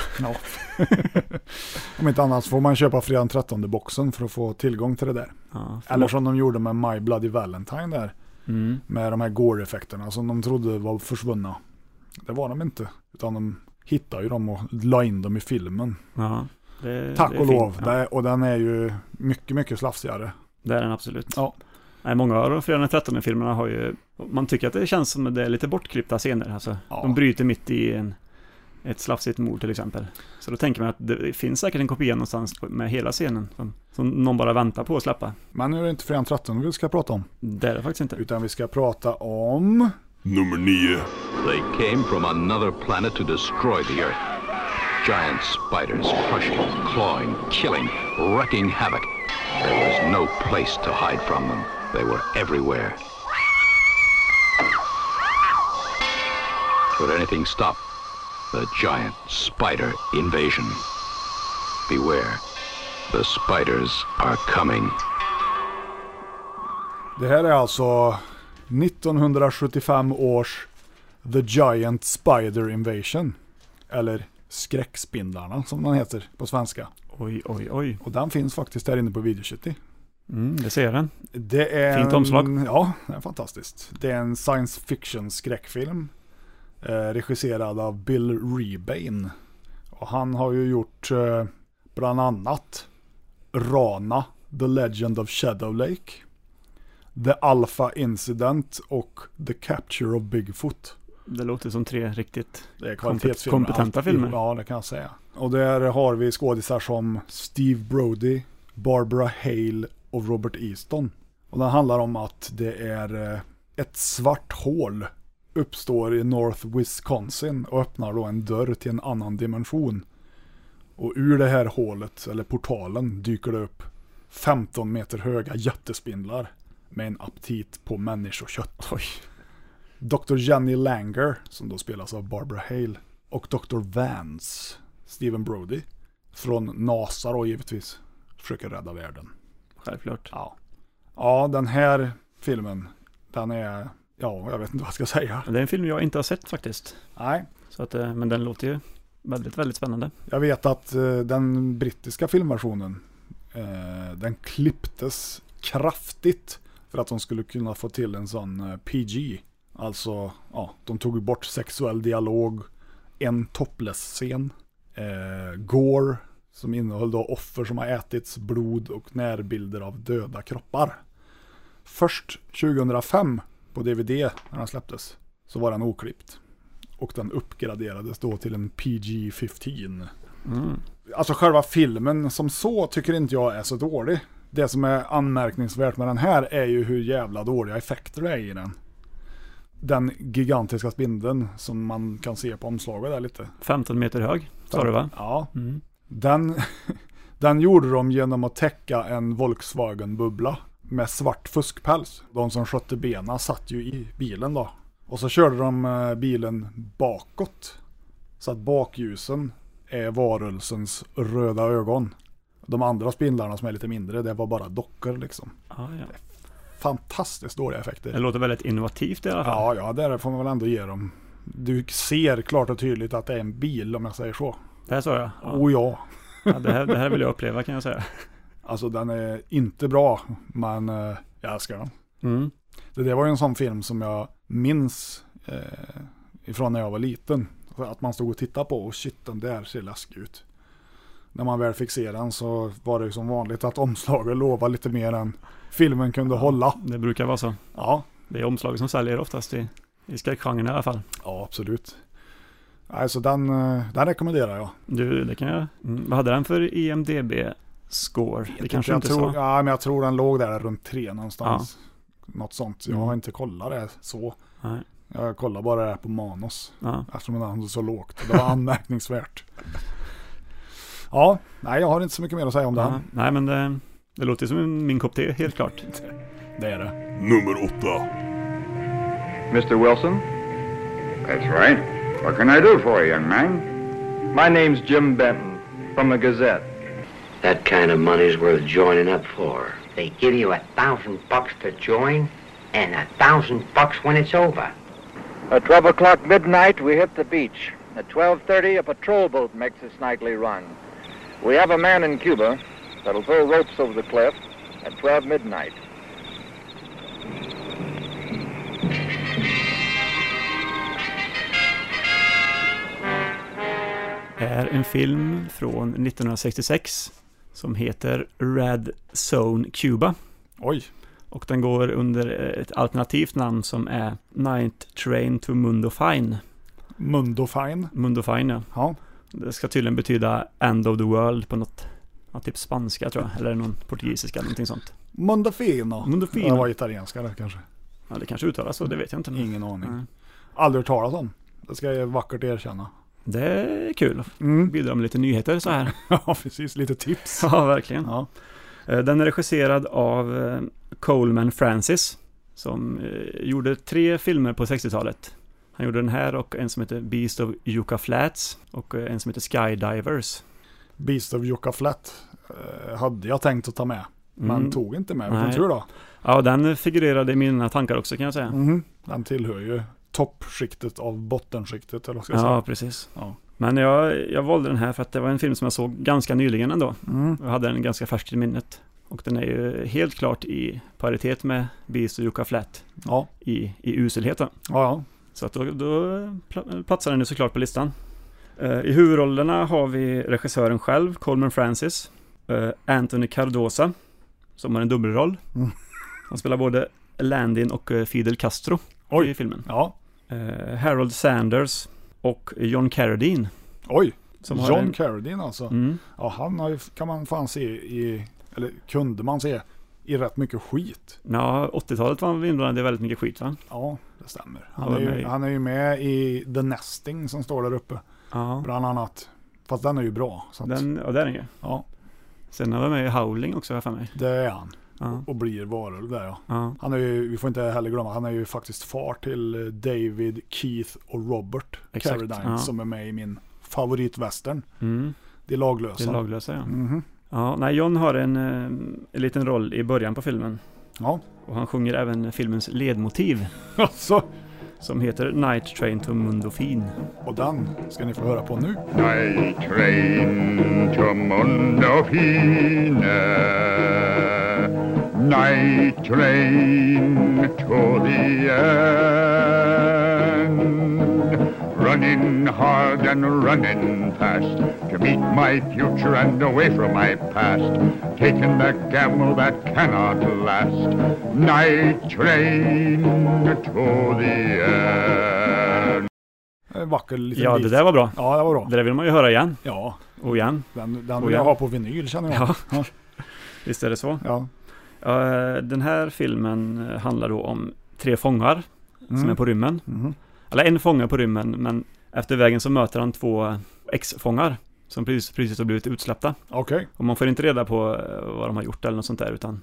Speaker 3: Om inte annars får man köpa fredagen 13 boxen för att få tillgång till det där.
Speaker 4: Ja,
Speaker 3: Eller som de gjorde med My Bloody Valentine där.
Speaker 4: Mm.
Speaker 3: Med de här gore-effekterna som de trodde var försvunna. Det var de inte. Utan de hittade ju dem och la in dem i filmen.
Speaker 4: Ja, det,
Speaker 3: Tack
Speaker 4: det är
Speaker 3: och
Speaker 4: fint.
Speaker 3: lov.
Speaker 4: Ja,
Speaker 3: Det, och den är ju mycket, mycket slafsigare.
Speaker 4: det är den absolut.
Speaker 3: Ja.
Speaker 4: Nej, många av de Fredag den 13-filmerna har ju... Man tycker att det känns som att det är lite bortklippta scener. Alltså,
Speaker 3: Ja.
Speaker 4: De bryter mitt i en, ett slafsigt mord till exempel. Så då tänker man att det finns säkert en kopia någonstans på- med hela scenen. Som, som någon bara väntar på att släppa.
Speaker 3: Men nu är det inte fredagen 13 vi ska prata om.
Speaker 4: Det är det faktiskt inte.
Speaker 3: Utan vi ska prata om...
Speaker 7: nummer nio,
Speaker 8: They came from another planet to destroy the Earth. Giant spiders crushing, clawing, killing, wrecking havoc. There was no place to hide from them. They were everywhere. Could anything stop the giant spider invasion? Beware, the spiders are coming.
Speaker 3: Det här är alltså 1975 års The Giant Spider Invasion. Eller Skräckspindlarna som den heter på svenska.
Speaker 4: Oj, oj, oj.
Speaker 3: Och den finns faktiskt där inne på Video City.
Speaker 4: Mm, det ser jag den.
Speaker 3: Det är
Speaker 4: Fint
Speaker 3: en-
Speaker 4: omslag.
Speaker 3: Ja, det är fantastiskt. Det är en science fiction skräckfilm. Eh, regisserad av Bill Rebane. Och han har ju gjort eh, bland annat Rana, The Legend of Shadow Lake. The Alpha Incident och The Capture of Bigfoot.
Speaker 4: Det låter som tre riktigt...
Speaker 3: Det är kvalitetsfilmer.
Speaker 4: kompetenta
Speaker 3: alltihop.
Speaker 4: filmer.
Speaker 3: Ja, det kan jag säga. Och där har vi skådisar som Steve Brody, Barbara Hale och Robert Easton. Och den handlar om att det är eh, ett svart hål uppstår i North Wisconsin och öppnar då en dörr till en annan dimension. Och ur det här hålet, eller portalen, dyker det upp 15 meter höga jättespindlar med en aptit på människokött. Dr. Jenny Langer, som då spelas av Barbara Hale, och Dr. Vance, Stephen Brody, från NASA då givetvis, försöker rädda världen.
Speaker 4: Självklart.
Speaker 3: Ja. Ja, den här filmen, den är, ja, jag vet inte vad jag ska säga.
Speaker 4: Det är en film jag inte har sett faktiskt.
Speaker 3: Nej,
Speaker 4: Så att, eh, men den låter ju väldigt, väldigt spännande.
Speaker 3: jag vet att eh, den brittiska filmversionen, eh, den klipptes kraftigt för att de skulle kunna få till en sån eh, PG. Alltså, ja, de tog ju bort sexuell dialog, en topless-scen, eh, Gore, som innehöll då offer som har ätits, blod och närbilder av döda kroppar. Först 2005 på DVD när den släpptes så var den oklippt. Och den uppgraderades då till en PG-15. Alltså själva filmen som så tycker inte jag är så dålig. Det som är anmärkningsvärt med den här är ju hur jävla dåliga effekter det är i den. den gigantiska spindeln som man kan se på omslaget där lite.
Speaker 4: 15 meter hög, sa du va?
Speaker 3: Ja. Den, den gjorde de genom att täcka en Volkswagen-bubbla med svart fuskpäls. De som skötte benen satt ju i bilen då. Och så körde de eh, bilen bakåt. Så att bakljusen är varelsens röda ögon. De andra spindlarna som är lite mindre, det var bara dockor liksom.
Speaker 4: Ja, ja.
Speaker 3: Fantastiskt dåliga effekter.
Speaker 4: Det låter väldigt innovativt i alla fall.
Speaker 3: Ja, ja, där får man väl ändå ge dem. Du ser klart och tydligt att det är en bil om jag säger så.
Speaker 4: Det här sa jag. Ja.
Speaker 3: Och ja,
Speaker 4: Ja, det, här, det här vill jag uppleva kan jag säga.
Speaker 3: alltså den är inte bra, men eh, jag älskar den.
Speaker 4: Mm.
Speaker 3: Det där var ju en sån film som jag minns eh, ifrån när jag var liten. Så Att man stod och tittade på och shit den där ser läskig ut. När man väl fick se den så var det ju som vanligt att omslaget lovade lite mer än filmen kunde hålla.
Speaker 4: Det brukar vara så.
Speaker 3: Ja,
Speaker 4: Det är omslaget som säljer oftast i, i skräckgenren i alla fall.
Speaker 3: ja absolut. Alltså den, eh, den rekommenderar jag.
Speaker 4: Du, det kan jag... Mm. Vad hade den för IMDB-score? Det kanske du
Speaker 3: jag
Speaker 4: inte
Speaker 3: tror,
Speaker 4: sa.
Speaker 3: Ja, men jag tror den låg där runt tre någonstans. Något sånt. Jag har inte kollat det så.
Speaker 4: Mm. Nej.
Speaker 3: Jag kollar bara det här på Manos.
Speaker 4: Ja.
Speaker 3: Eftersom den är så lågt. Det var anmärkningsvärt. Ja, nej jag har inte så mycket mer att säga om
Speaker 4: Ja.
Speaker 3: den.
Speaker 4: Nej, men det, det låter ju som en- min kopp te, helt klart.
Speaker 3: Det är det.
Speaker 7: Nummer åtta.
Speaker 11: Mr. Wilson?
Speaker 12: That's right. What can I do for you, young man?
Speaker 11: My name's Jim Benton, from the Gazette.
Speaker 13: That kind of money's worth joining up for.
Speaker 14: They give you a thousand bucks to join, and a thousand bucks when it's over.
Speaker 12: At 12 o'clock midnight, we hit the beach. At 12.30, a patrol boat makes its nightly run. We have a man in Cuba that'll throw ropes over the cliff at 12 midnight.
Speaker 4: är en film från 1966 som heter Red Zone Cuba.
Speaker 3: Oj.
Speaker 4: Och den går under eh, ett alternativt namn som är Night Train to Mundo Fine.
Speaker 3: Mundo Fine.
Speaker 4: Mundo Fine, ja.
Speaker 3: ja.
Speaker 4: Det ska tydligen betyda End of the World på något, ja, typ spanska tror jag, eller någon portugisiska, någonting sånt.
Speaker 3: Mondofino.
Speaker 4: Mondofino.
Speaker 3: Det var italienska det kanske.
Speaker 4: Ja, det kanske uttalas så, det vet jag inte. men-
Speaker 3: Ingen aning.
Speaker 4: Nej.
Speaker 3: Aldrig hört talas om. Det ska jag vackert erkänna.
Speaker 4: Det är kul.
Speaker 3: Mm.
Speaker 4: Bidra med lite nyheter så här.
Speaker 3: Ja, precis. Lite tips.
Speaker 4: Ja, verkligen.
Speaker 3: Ja.
Speaker 4: Eh, Den är regisserad av eh, Coleman Francis, som eh, gjorde tre filmer på 60-talet. Han gjorde den här och en som heter Beast of Yucca Flats och eh, en som heter Skydivers.
Speaker 3: Beast of Yucca Flat eh, hade jag tänkt att ta med. Men
Speaker 4: Mm.
Speaker 3: tog inte med.
Speaker 4: Nej.
Speaker 3: Vilken tur då.
Speaker 4: Ja, den figurerade i mina tankar också kan jag säga.
Speaker 3: Mhm. Den tillhör ju toppskiktet av bottenskiktet eller vad ska jag
Speaker 4: Ja,
Speaker 3: säga.
Speaker 4: precis.
Speaker 3: Ja.
Speaker 4: Men jag, jag valde den här för att det var en film som jag såg ganska nyligen ändå.
Speaker 3: Mm.
Speaker 4: Jag hade den ganska färskt i minnet. Och den är ju helt klart i paritet med Beast och Yucca Flat
Speaker 3: Ja.
Speaker 4: i, i uselheten.
Speaker 3: Ja, ja.
Speaker 4: Så att då, då pla- platsar den ju såklart på listan. Eh, I huvudrollerna har vi regissören själv, Coleman Francis, eh, Anthony Cardosa, som har en dubbelroll.
Speaker 3: Mm.
Speaker 4: Han spelar både Landin och eh, Fidel Castro i filmen.
Speaker 3: Ja.
Speaker 4: Eh, Harold Sanders och John Carradine.
Speaker 3: Oj,
Speaker 4: Som har
Speaker 3: John
Speaker 4: en-
Speaker 3: Carradine alltså.
Speaker 4: Mm.
Speaker 3: Ja, han har ju, kan man fan se i, eller kunde man se, i rätt mycket skit.
Speaker 4: Ja, 80-talet var han inblandad i väldigt mycket skit va?
Speaker 3: Ja, det stämmer. Han
Speaker 4: Han
Speaker 3: är,
Speaker 4: var med
Speaker 3: ju,
Speaker 4: i-
Speaker 3: han är ju med i The Nesting som står där uppe,
Speaker 4: Ja,
Speaker 3: bland annat. Fast den är ju bra. Så att,
Speaker 4: den, ja det är den ju.
Speaker 3: Ja,
Speaker 4: Sen har han med i Howling också har jag för mig.
Speaker 3: det är han.
Speaker 4: Ja.
Speaker 3: Och blir varulv där ja.
Speaker 4: Ja.
Speaker 3: Han är ju, vi får inte heller glömma, han är ju faktiskt far till eh, David, Keith och Robert
Speaker 4: Exakt,
Speaker 3: Carradine
Speaker 4: ja.
Speaker 3: som är med i min favoritwestern.
Speaker 4: Mm.
Speaker 3: Det är laglösa.
Speaker 4: Det är laglösa ja.
Speaker 3: Mhm.
Speaker 4: Ja, nej, John har en, eh, en liten roll i början på filmen.
Speaker 3: Ja.
Speaker 4: Och han sjunger även filmens ledmotiv.
Speaker 3: Alltså.
Speaker 4: Som heter Night Train to Mundofin.
Speaker 3: Och den ska ni få höra på nu.
Speaker 7: Night train to Mondofina. Night train to the end. Running hard and running fast to meet my future and away from my past. Taking the gamble that cannot last. Night train to the end.
Speaker 3: En Eh, vacker liten
Speaker 4: Ja,
Speaker 3: bit.
Speaker 4: det där var bra.
Speaker 3: Ja, det var bra.
Speaker 4: Det där vill man ju höra igen.
Speaker 3: Ja,
Speaker 4: Och igen.
Speaker 3: den, den
Speaker 4: Och
Speaker 3: vill jag
Speaker 4: jag-
Speaker 3: ha på vinyl känner jag.
Speaker 4: Ja. Visst är det så.
Speaker 3: Ja.
Speaker 4: Ja, eh, den här filmen eh, handlar då om tre fångar. som är på rymmen. Eller en fånge på rymmen, men efter vägen så möter han två eh, ex-fångar som precis, precis har blivit utsläppta.
Speaker 3: Okej.
Speaker 4: Och man får inte reda på eh, vad de har gjort eller något sånt där, utan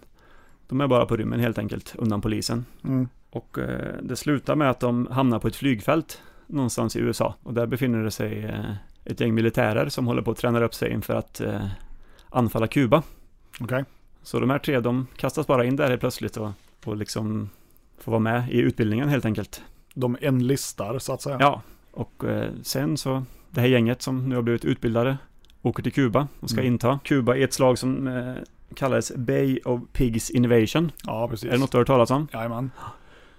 Speaker 4: de är bara på rymmen helt enkelt, undan polisen.
Speaker 3: Mm.
Speaker 4: Och eh, det slutar med att de hamnar på ett flygfält någonstans i USA. Och där befinner det sig eh, ett gäng militärer som håller på att träna upp sig inför att eh, anfalla Kuba.
Speaker 3: Okej.
Speaker 4: Så de här tre, de kastas bara in där helt plötsligt och, och liksom får vara med i utbildningen helt enkelt.
Speaker 3: De enlistar så att säga.
Speaker 4: Ja, och eh, sen så det här gänget som nu har blivit utbildade åker till Kuba och ska
Speaker 3: Mm.
Speaker 4: inta Kuba i ett slag som eh, kallades Bay of Pigs Invasion.
Speaker 3: Ja, precis.
Speaker 4: Är det något du har hört talas om?
Speaker 3: Jajamän.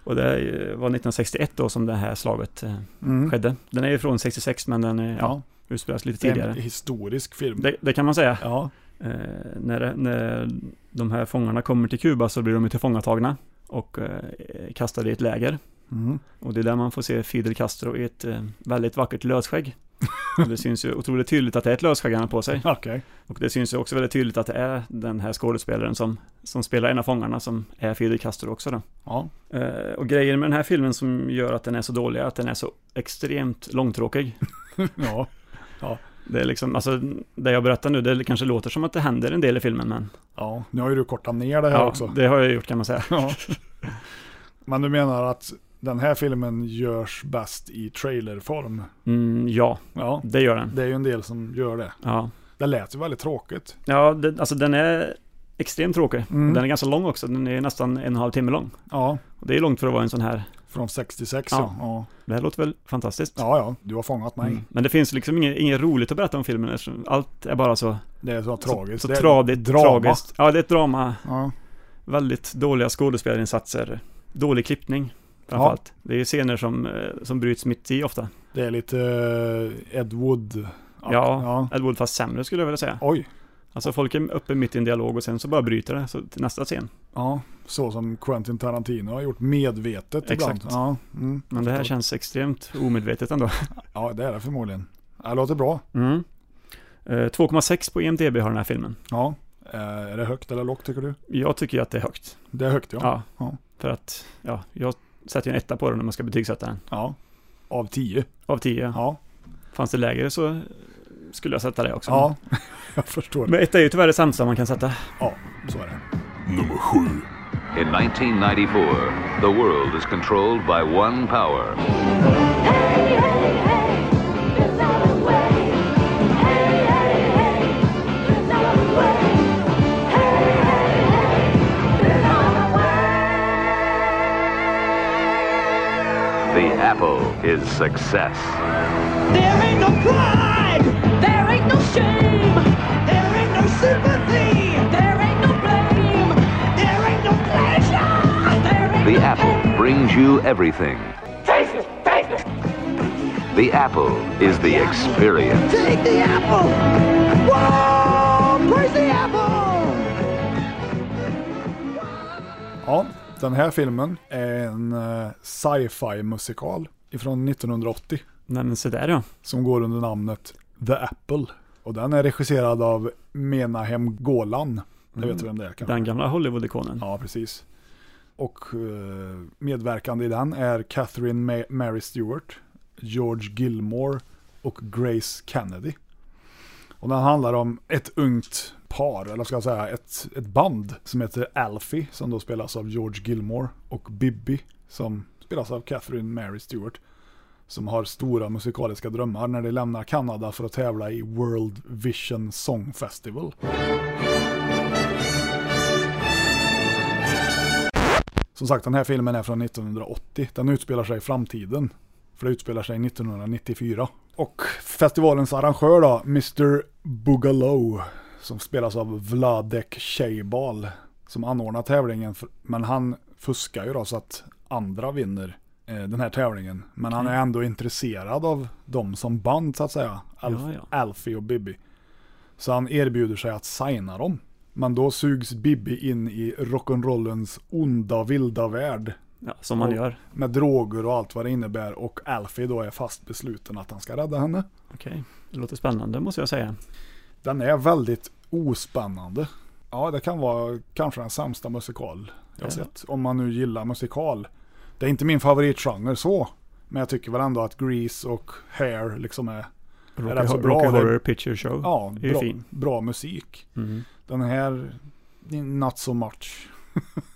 Speaker 4: Och det eh, var 1961 då som det här slaget eh,
Speaker 3: Mm.
Speaker 4: skedde. Den är ju från 66 men den är, ja.
Speaker 3: Ja.
Speaker 4: utspelas lite
Speaker 3: Det är en
Speaker 4: tidigare.
Speaker 3: historisk film.
Speaker 4: Det, det kan man säga.
Speaker 3: Ja.
Speaker 4: Eh, när, det- när de här fångarna kommer till Kuba så blir de ju tillfångatagna och eh, kastade i ett läger.
Speaker 3: Mm.
Speaker 4: Och det är där man får se Fidel Castro i ett eh, väldigt vackert lösskägg. Och det syns ju otroligt tydligt att det är ett lösskägg han har på sig.
Speaker 3: Okej.
Speaker 4: Och det syns ju också väldigt tydligt att det är den här skådespelaren som, som spelar en av fångarna som är Fidel Castro också då.
Speaker 3: Ja.
Speaker 4: Eh, och grejen med den här filmen som gör att den är så dålig är att den är så extremt långtråkig.
Speaker 3: ja. ja.
Speaker 4: Det är liksom, alltså det jag berättar nu, det kanske låter som att det händer en del i filmen men
Speaker 3: Ja, nu har ju du kortat ner det här
Speaker 4: ja,
Speaker 3: också.
Speaker 4: det har jag gjort kan man säga.
Speaker 3: Ja. Men du menar att den här filmen görs bäst i trailerform?
Speaker 4: Mm, ja,
Speaker 3: Ja.
Speaker 4: det gör den.
Speaker 3: Det är ju en del som gör det.
Speaker 4: Ja,
Speaker 3: Det lät ju väldigt tråkigt.
Speaker 4: ja det, alltså den är extremt tråkig.
Speaker 3: Mm.
Speaker 4: Den är ganska lång också, den är nästan en och en halv timme lång.
Speaker 3: Ja,
Speaker 4: Och det är långt för att vara en sån här.
Speaker 3: från 66
Speaker 4: Ja.
Speaker 3: ja. Ja,
Speaker 4: Det här låter väl fantastiskt.
Speaker 3: ja, ja du har fångat mig.
Speaker 4: Mm. Men det finns liksom inget, inget roligt att berätta om filmen eftersom allt är bara så,
Speaker 3: Det är så tragiskt.
Speaker 4: så,
Speaker 3: Det
Speaker 4: så
Speaker 3: är
Speaker 4: tradigt,
Speaker 3: drama.
Speaker 4: tragiskt. Ja, det är ett drama.
Speaker 3: Ja.
Speaker 4: Väldigt dåliga skådespelarinsatser. Dålig klippning framförallt. Det är ju scener som, eh, som bryts mitt i ofta.
Speaker 3: Det är lite eh, Ed Wood.
Speaker 4: Ja, Ed Wood fast sämre skulle jag vilja säga.
Speaker 3: Oj.
Speaker 4: Alltså folk är uppe mitt i en dialog och sen så bara bryter det så till nästa scen.
Speaker 3: Ja, så som Quentin Tarantino har gjort medvetet
Speaker 4: Exakt.
Speaker 3: ibland. Ja, mm.
Speaker 4: Men det här känns extremt omedvetet ändå.
Speaker 3: ja, det är det förmodligen. Det låter bra.
Speaker 4: Mm. Eh, 2,6 på IMDB har den här filmen.
Speaker 3: Ja. Eh, Är det högt eller lågt tycker du?
Speaker 4: Jag tycker ju att det är högt.
Speaker 3: Det är högt ja.
Speaker 4: Ja.
Speaker 3: Ja.
Speaker 4: För att, ja, jag sätter ju en etta på den när man ska betygsätta den.
Speaker 3: Ja. Mm. Av 10.
Speaker 4: Av 10.
Speaker 3: Ja.
Speaker 4: Fanns det lägre så skulle jag sätta det också.
Speaker 3: Ja, jag förstår.
Speaker 4: Men etta är ju tyvärr det sämsta man kan sätta.
Speaker 3: Ja, så är det.
Speaker 8: In 1994, the world is controlled by one power. The apple is success.
Speaker 15: There ain't no pride. There ain't no shame. There ain't no sympathy. There ain't no blame. There ain't no pleasure. There ain't
Speaker 8: The apple brings you everything.
Speaker 15: Taste it. Taste it.
Speaker 8: The apple is the experience.
Speaker 15: Take the apple. Whoa! Praise the apple.
Speaker 3: Ja, den här filmen är en eh, sci-fi musikal ifrån 1980
Speaker 4: Nej men se där ja.
Speaker 3: som går under namnet The Apple. Och den är regisserad av Menahem Golan. Det vet du vem Mm. det är kanske?
Speaker 4: Den gamla Hollywood-ikonen.
Speaker 3: Ja, precis. Och eh, medverkande i den är Catherine Ma- Mary Stewart, George Gilmore och Grace Kennedy. Och den handlar om ett ungt par, eller ska jag säga ett, ett band som heter Alfie som då spelas av George Gilmore och Bibby som spelas av Catherine Mary Stewart som har stora musikaliska drömmar när de lämnar Kanada för att tävla i World Vision Song Festival. Som sagt, den här filmen är från 1980. Den utspelar sig i framtiden. För det utspelar sig 1994. Och festivalens arrangör då, Mr. Bugalow, som spelas av Vladek Tjejbal, som anordnar tävlingen. För- Men han fuskar ju då så att andra vinner eh, den här tävlingen. Men
Speaker 4: Mm.
Speaker 3: han är ändå intresserad av dem som band så att säga. Alf-
Speaker 4: Ja, ja.
Speaker 3: Alfie och Bibi. Så han erbjuder sig att signa dem. Men då sugs Bibi in i rock'n'rollens onda vilda värld.
Speaker 4: Ja, som man
Speaker 3: Och-
Speaker 4: gör.
Speaker 3: Med droger och allt vad det innebär och Alfie då är fast besluten att han ska rädda henne.
Speaker 4: Okej. Det låter spännande måste jag säga.
Speaker 3: Den är väldigt ospännande. Ja, det kan vara kanske den sämsta musikal jag
Speaker 4: Ja.
Speaker 3: sett. Om man nu gillar musikal. Det är inte min favoritgenre så. Men jag tycker väl ändå att Grease och Hair liksom är, är
Speaker 4: Rocky,
Speaker 3: rätt så bra.
Speaker 4: Rocky
Speaker 3: Det är-
Speaker 4: Horror Picture Show
Speaker 3: Ja,
Speaker 4: är ju
Speaker 3: bra,
Speaker 4: fin.
Speaker 3: bra musik.
Speaker 4: Mm.
Speaker 3: Den här, not so much.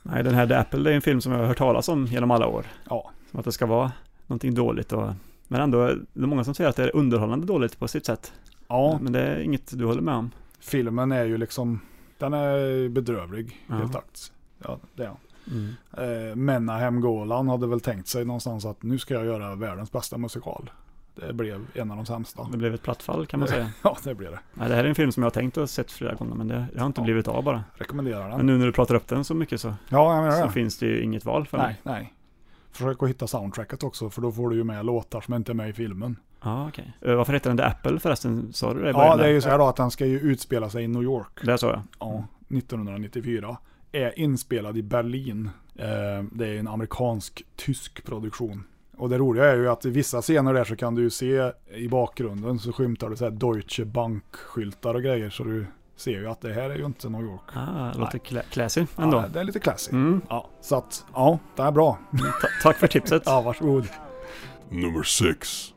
Speaker 4: Nej, den här The Apple det är en film som jag har hört talas om genom alla år.
Speaker 3: Ja.
Speaker 4: Som att det ska vara någonting dåligt och... Men ändå, det är många som säger att det är underhållande dåligt på sitt sätt.
Speaker 3: Ja.
Speaker 4: Men det är inget du håller med om.
Speaker 3: Filmen är ju liksom, den är bedrövlig
Speaker 4: Ja.
Speaker 3: helt akt. Ja, det är han.
Speaker 4: Mm.
Speaker 3: Eh, Menahem Golan hade väl tänkt sig någonstans att nu ska jag göra världens bästa musikal. Det blev en av de sämsta.
Speaker 4: Det blev ett plattfall kan man
Speaker 3: Det-
Speaker 4: säga.
Speaker 3: ja, det blev det.
Speaker 4: Nej, det här är en film som jag har tänkt och sett flera gånger, men det, det har inte blivit av bara.
Speaker 3: Rekommenderar den.
Speaker 4: Men nu när du pratar upp den så mycket så,
Speaker 3: Ja, jag menar
Speaker 4: Mm. så
Speaker 3: det.
Speaker 4: finns det ju inget val för
Speaker 3: nej,
Speaker 4: mig.
Speaker 3: nej. Försök att hitta soundtracket också, för då får du ju med låtar som inte är med i filmen.
Speaker 4: Ja, okej. Eh, Varför heter den The Apple förresten? Sa du det i
Speaker 3: Ja,
Speaker 4: början
Speaker 3: det
Speaker 4: där?
Speaker 3: är ju så här då att den ska ju utspela sig i New York.
Speaker 4: Det sa jag.
Speaker 3: Ja, 1994. Är inspelad i Berlin. Eh, Det är en amerikansk-tysk produktion. Och det roliga är ju att i vissa scener där så kan du ju se i bakgrunden så skymtar du så här Deutsche Bank-skyltar och grejer. Så du ser ju att det här är ju inte New York.
Speaker 4: Ah, det låter cla- classy ändå.
Speaker 3: Ja, det är lite classy.
Speaker 4: Mm.
Speaker 3: Ja, så att, ja, det är bra.
Speaker 4: tack för tipset.
Speaker 3: ja, varsågod.
Speaker 16: Number six.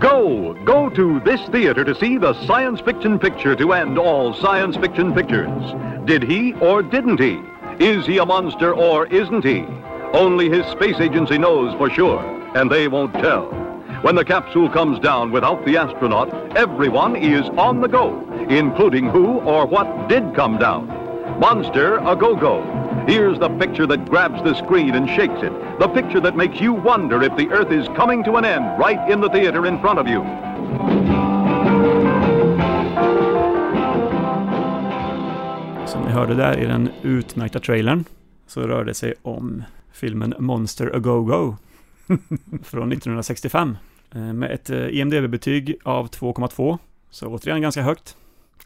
Speaker 17: Go! Go to this theater to see the science fiction picture to end all science fiction pictures. Did he or didn't he? Is he a monster or isn't he? Only his space agency knows for sure, and they won't tell. When the capsule comes down without the astronaut, everyone is on the go, including who or what did come down. Monster a go go. Here's the picture that grabs the screen and shakes it. The picture that makes you wonder if the Earth is coming to an end right in the theater in front of you.
Speaker 4: Som ni hörde där i den utmärkta trailern så rör det sig om filmen Monster A Go Go från 1965 eh, med ett eh, IMDB-betyg av 2,2. Så återigen ganska högt.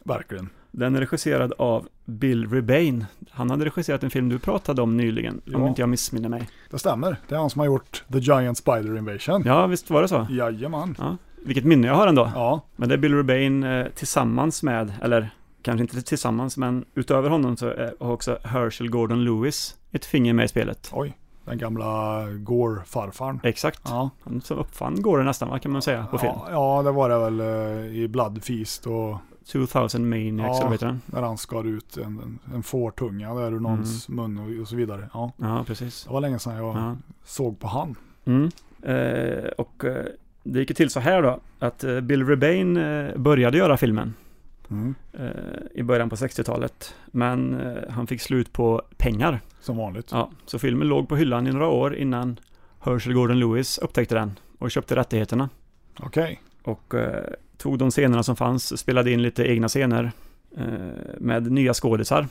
Speaker 3: Verkligen.
Speaker 4: Den är regisserad av Bill Rebane. Han hade regisserat en film du pratade om nyligen, om
Speaker 3: Ja.
Speaker 4: inte jag missminner mig.
Speaker 3: Det stämmer. Det är han som har gjort The Giant Spider Invasion.
Speaker 4: Ja, visst var det så?
Speaker 3: Jajamän.
Speaker 4: Ja. Vilket minne jag har ändå.
Speaker 3: Ja.
Speaker 4: Men det är Bill Rebane eh, tillsammans med, eller kanske inte tillsammans, men utöver honom så är- har också Herschel Gordon Lewis ett finger med i spelet.
Speaker 3: Oj, den gamla Gore-farfarn.
Speaker 4: Exakt. Han som uppfann Gore nästan, vad kan man säga på film?
Speaker 3: Ja, ja, det var det väl eh, i Blood Feast och
Speaker 4: 2000 Maniacs, eller vad heter den?
Speaker 3: när han skar ut en, en, en fårtunga där ur någons mun och, och så vidare. Ja.
Speaker 4: Ja, precis.
Speaker 3: Det var länge sedan jag
Speaker 4: Mm. Ja.
Speaker 3: såg på han.
Speaker 4: Mm. Eh, och eh, det gick ju till så här då, att eh, Bill Rebane eh, började göra filmen
Speaker 3: Mm.
Speaker 4: eh, i början på 60-talet. Men eh, han fick slut på pengar.
Speaker 3: Som vanligt.
Speaker 4: Ja, så filmen låg på hyllan i några år innan Herschel Gordon Lewis upptäckte den och köpte rättigheterna.
Speaker 3: Okej.
Speaker 4: Och eh, tog de scenerna som fanns, spelade in lite egna scener eh, med nya skådisar.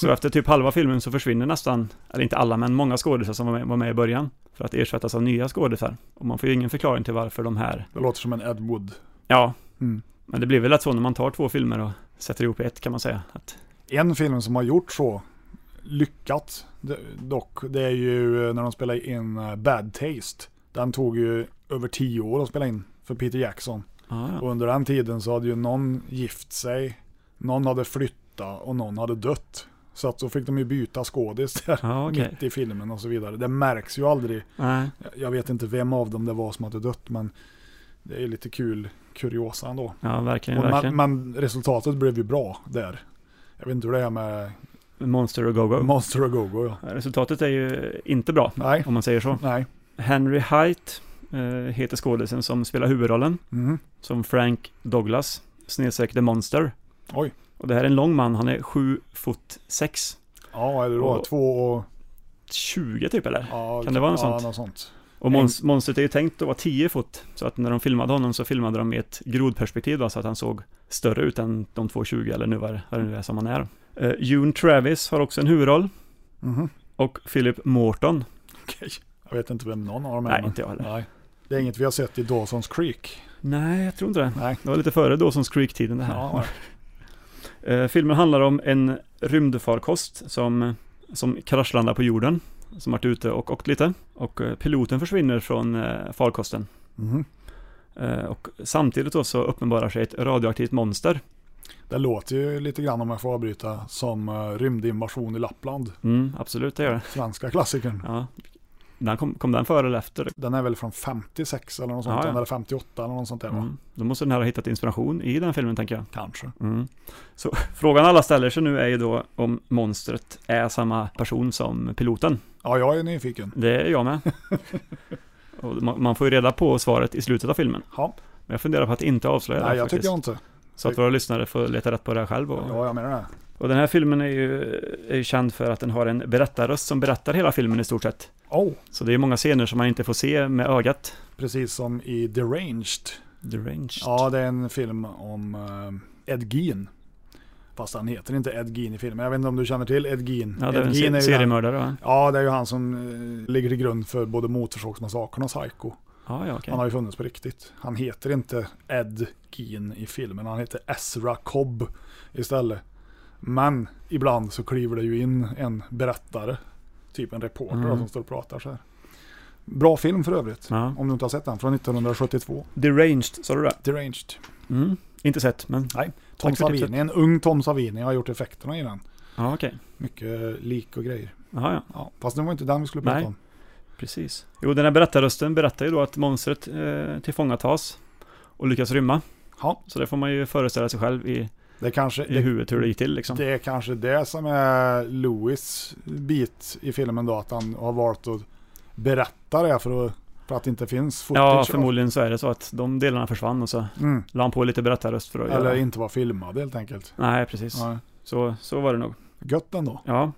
Speaker 4: Så efter typ halva filmen så försvinner nästan, eller inte alla, men många skådisar som var med, var med i början. För att ersättas av nya skådisar. Och man får ju ingen förklaring till varför de här...
Speaker 3: Det låter som en Ed Wood.
Speaker 4: Ja.
Speaker 3: Mm.
Speaker 4: Men det blir väl lätt så när man tar två filmer och sätter ihop i ett kan man säga. Att,
Speaker 3: En film som har gjort så lyckat d- dock, det är ju eh, när de spelade in eh, Bad Taste. Den tog ju över tio år att spela in för Peter Jackson.
Speaker 4: Ah, ja,
Speaker 3: Och under den tiden så hade ju någon gift sig, någon hade flyttat och någon hade dött. Så att så fick de ju byta skådis där
Speaker 4: Ja, okej.
Speaker 3: mitt i filmen och så vidare. Det märks ju aldrig.
Speaker 4: Nej.
Speaker 3: Jag vet inte vem av dem det var som hade dött men det är lite kul kuriosa ändå.
Speaker 4: Ja, verkligen,
Speaker 3: Och man-
Speaker 4: verkligen.
Speaker 3: Men resultatet blev ju bra där. Jag vet inte hur det är med
Speaker 4: Monster och Go-Go.
Speaker 3: Monster och Go-Go, ja.
Speaker 4: Resultatet är ju inte bra, om man säger så.
Speaker 3: Nej.
Speaker 4: Henry Height eh, heter skådisen som spelar huvudrollen,
Speaker 3: Mhm.
Speaker 4: som Frank Douglas, snedstreck The Monster.
Speaker 3: Oj.
Speaker 4: Och det här är en lång man, han är 7 fot 6.
Speaker 3: Ja, vad är det då?
Speaker 4: Och-
Speaker 3: Två och...
Speaker 4: 20 typ eller?
Speaker 3: Ja,
Speaker 4: Kan det vara något
Speaker 3: ja,
Speaker 4: sånt?
Speaker 3: något sånt.
Speaker 4: Och mons- monstret är ju tänkt att vara 10 fot, så att när de filmade honom så filmade de i ett grodperspektiv då, så att han såg större ut än de 2,20 eller nu vad det- vad det nu är som han är. Eh, June Travis har också en huvudroll.
Speaker 3: Mhm.
Speaker 4: Och Philip Morton.
Speaker 3: Okej. Jag vet inte vem någon av dem är.
Speaker 4: Nej,
Speaker 3: men-
Speaker 4: inte jag heller.
Speaker 3: Nej. Det är inget vi har sett i Dawson's Creek.
Speaker 4: Nej, jag tror inte det.
Speaker 3: Nej.
Speaker 4: Det var lite före då som Creek-tiden det här.
Speaker 3: Ja,
Speaker 4: Eh, Filmen handlar om en rymdfarkost som, som kraschlandar på jorden. Som varit ute och åkt lite. Och eh, piloten försvinner från eh, farkosten.
Speaker 3: Mhm.
Speaker 4: Eh, Och samtidigt då så uppenbarar sig ett radioaktivt monster.
Speaker 3: Det låter ju lite grann, om jag får avbryta, som eh, rymdinvasion i Lappland.
Speaker 4: Mm, absolut, det gör det.
Speaker 3: Svenska klassikern.
Speaker 4: Ja. Den kom, kom den före eller efter?
Speaker 3: Den är väl från 56 eller något sånt,
Speaker 4: Ja, ja.
Speaker 3: eller 58 eller något sånt där va?
Speaker 4: Mm. Då måste den här ha hittat inspiration i den filmen tänker jag.
Speaker 3: Kanske.
Speaker 4: Mm. Så frågan alla ställer sig nu är ju då om monstret är samma person som piloten.
Speaker 3: Ja, jag är nyfiken.
Speaker 4: Det är jag med. Och man, man får ju reda på svaret i slutet av filmen.
Speaker 3: Ja.
Speaker 4: Men jag funderar på att inte avslöja det
Speaker 3: Nej,
Speaker 4: här
Speaker 3: jag
Speaker 4: faktiskt.
Speaker 3: tycker jag inte.
Speaker 4: Så att våra lyssnare får leta rätt på det här själv. Och,
Speaker 3: Ja, jag menar det.
Speaker 4: och den här filmen är ju, är ju känd för att den har en berättarröst som berättar hela filmen i stort sett.
Speaker 3: Oh.
Speaker 4: Så det är många scener som man inte får se med ögat.
Speaker 3: Precis som i Deranged.
Speaker 4: Deranged?
Speaker 3: Ja, det är en film om eh, Ed Gein. Fast han heter inte Ed Gein i filmen. Jag vet inte om du känner till Ed Gein.
Speaker 4: Ja, det är
Speaker 3: Ed
Speaker 4: en
Speaker 3: Gein
Speaker 4: se-
Speaker 3: ju
Speaker 4: seriemördare,
Speaker 3: den-
Speaker 4: va?
Speaker 3: Ja, det är ju han som eh, ligger till grund för både Motorsågsmassakern och Psycho.
Speaker 4: Ja, ja, okej.
Speaker 3: Han har ju funnits på riktigt. Han heter inte Ed Gein i filmen, han heter Ezra Cobb istället. Men ibland så kliver det ju in en berättare, typ en reporter
Speaker 4: Mm.
Speaker 3: som står och pratar så här. Bra film för övrigt,
Speaker 4: Ja.
Speaker 3: om du inte har sett den, från 1972.
Speaker 4: Deranged, sa du det?
Speaker 3: Deranged.
Speaker 4: Mm. Inte sett, men...
Speaker 3: Nej, Tom
Speaker 4: Tack för tipset.
Speaker 3: Savini, en ung Tom Savini har gjort effekterna i den.
Speaker 4: Ja, okej.
Speaker 3: Mycket lik och grejer.
Speaker 4: Jaha, ja.
Speaker 3: Ja, fast det var inte den vi skulle prata
Speaker 4: Nej.
Speaker 3: om.
Speaker 4: Precis. Jo, den här berättarrösten berättar ju då att monstret eh, tillfångatas och lyckas rymma.
Speaker 3: Ja.
Speaker 4: Så det får man ju föreställa sig själv i,
Speaker 3: Det kanske,
Speaker 4: i huvudet hur det gick till liksom.
Speaker 3: Det är kanske det som är Louis bit i filmen då, att han har valt att berätta det för att, för att det inte finns footage.
Speaker 4: ja,
Speaker 3: av-
Speaker 4: förmodligen så är det så att de delarna försvann och så
Speaker 3: Mm.
Speaker 4: la han på lite berättarröst för att
Speaker 3: Eller
Speaker 4: göra...
Speaker 3: inte var filmad helt enkelt.
Speaker 4: Nej, precis.
Speaker 3: Nej.
Speaker 4: Så, så var det nog.
Speaker 3: Gött ändå.
Speaker 4: Ja.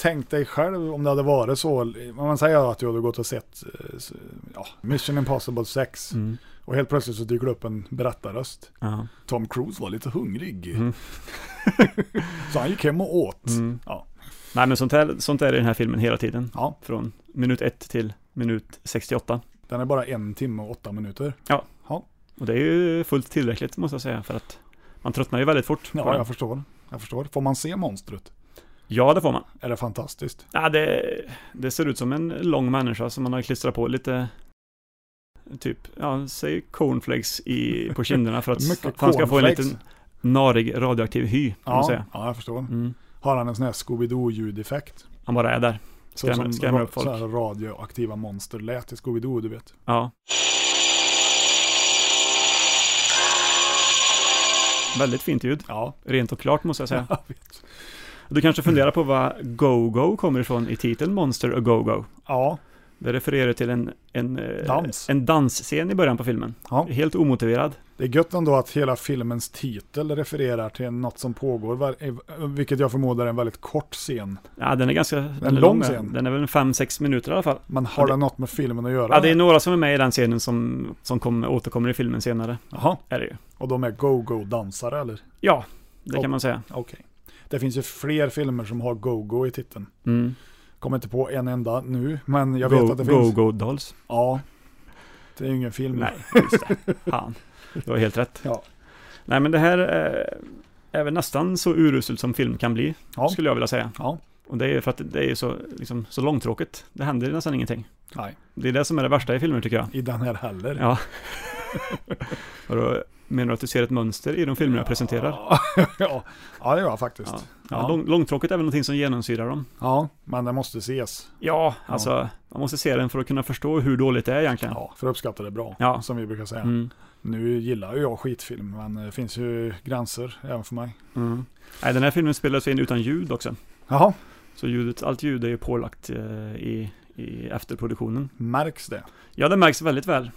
Speaker 3: Tänk dig själv om det hade varit så. Om Man säger att du hade gått och sett eh, s- ja, Mission Impossible 6
Speaker 4: Mm.
Speaker 3: och helt plötsligt så dyker det upp en berättarröst.
Speaker 4: Ja.
Speaker 3: Tom Cruise var lite hungrig. så han gick hem och åt.
Speaker 4: Mm.
Speaker 3: Ja.
Speaker 4: Nej, men sånt, här, sånt är det i den här filmen hela tiden.
Speaker 3: Ja.
Speaker 4: Från minut 1 till minut 68.
Speaker 3: Den är bara en timme och åtta minuter.
Speaker 4: Ja.
Speaker 3: Ja.
Speaker 4: Och det är ju fullt tillräckligt måste jag säga för att man tröttnar ju väldigt fort. på
Speaker 3: Ja,
Speaker 4: den.
Speaker 3: jag förstår. Jag förstår. Får man se monstret?
Speaker 4: ja det får man.
Speaker 3: Är det fantastiskt?
Speaker 4: Ja, det, det ser ut som en lång människa som man har klistrat på lite Typ, ja, säg cornflakes i, på kinderna för att
Speaker 3: Mycket
Speaker 4: han ska få en
Speaker 3: cornflakes.
Speaker 4: liten narig radioaktiv hy, kan man
Speaker 3: Ja,
Speaker 4: säga.
Speaker 3: ja, jag förstår.
Speaker 4: Mm.
Speaker 3: Har han en sån här Scooby-Doo-ljudeffekt?
Speaker 4: Han bara är där.
Speaker 3: Så
Speaker 4: Skrämmer,
Speaker 3: som
Speaker 4: skrämmer
Speaker 3: ra-
Speaker 4: upp folk.
Speaker 3: Så här radioaktiva monster lät i Scooby-Doo, du vet.
Speaker 4: Ja. Väldigt fint ljud.
Speaker 3: Ja.
Speaker 4: Rent och klart måste jag säga.
Speaker 3: Jag vet.
Speaker 4: Du kanske funderar på vad Go-Go kommer ifrån i titeln Monster och Go-Go?
Speaker 3: Ja.
Speaker 4: Det refererar till en, en, eh,
Speaker 3: Dans.
Speaker 4: en dansscen i början på filmen. Helt omotiverad.
Speaker 3: Det är gött ändå att hela filmens titel refererar till något som pågår, var- vilket jag förmodar är en väldigt kort scen.
Speaker 4: Ja, den är ganska
Speaker 3: En
Speaker 4: den är
Speaker 3: lång
Speaker 4: ja.
Speaker 3: scen.
Speaker 4: Den är väl en 5-6 minuter i alla fall.
Speaker 3: Men har
Speaker 4: det,
Speaker 3: det något med filmen att göra?
Speaker 4: Ja, det är några som är med i den scenen som, som kom, återkommer i filmen senare.
Speaker 3: Jaha.
Speaker 4: Är det ju.
Speaker 3: Och de är go-go-dansare, eller?
Speaker 4: Ja, det
Speaker 3: Och-
Speaker 4: kan man säga.
Speaker 3: Okej. Det finns ju fler filmer som har go-go i titeln.
Speaker 4: Mm.
Speaker 3: Kommer inte på en enda nu, men jag
Speaker 4: go,
Speaker 3: vet att det
Speaker 4: go,
Speaker 3: finns.
Speaker 4: Go Dolls.
Speaker 3: Ja. Det är ju ingen film.
Speaker 4: Nej, just det. Han. Du har helt rätt.
Speaker 3: Ja.
Speaker 4: Nej, men det här eh, är väl nästan så uruselt som film kan bli,
Speaker 3: Ja.
Speaker 4: skulle jag vilja säga.
Speaker 3: Ja.
Speaker 4: Och det är ju för att det är ju så, liksom, så långtråkigt. Det händer ju nästan ingenting.
Speaker 3: Nej.
Speaker 4: Det är det som är det värsta i filmer tycker jag.
Speaker 3: I den här heller.
Speaker 4: Ja. Och då menar du att du ser ett mönster i de filmer jag presenterar?
Speaker 3: ja. ja, det gör jag faktiskt. Ja.
Speaker 4: Ja, lång, långtråkigt är väl någonting som genomsyrar dem.
Speaker 3: Ja, men det måste ses.
Speaker 4: Ja, alltså man måste se den för att kunna förstå hur dåligt det är egentligen.
Speaker 3: Ja, för att uppskatta det bra,
Speaker 4: Ja.
Speaker 3: som vi brukar säga.
Speaker 4: Mm.
Speaker 3: Nu gillar ju jag skitfilm, men det finns ju gränser även för mig.
Speaker 4: Mm. Nej, den här filmen spelades in utan ljud också.
Speaker 3: Jaha.
Speaker 4: Så ljudet, allt ljud är ju pålagt eh, i, i efterproduktionen.
Speaker 3: Märks det?
Speaker 4: Ja, det märks väldigt väl.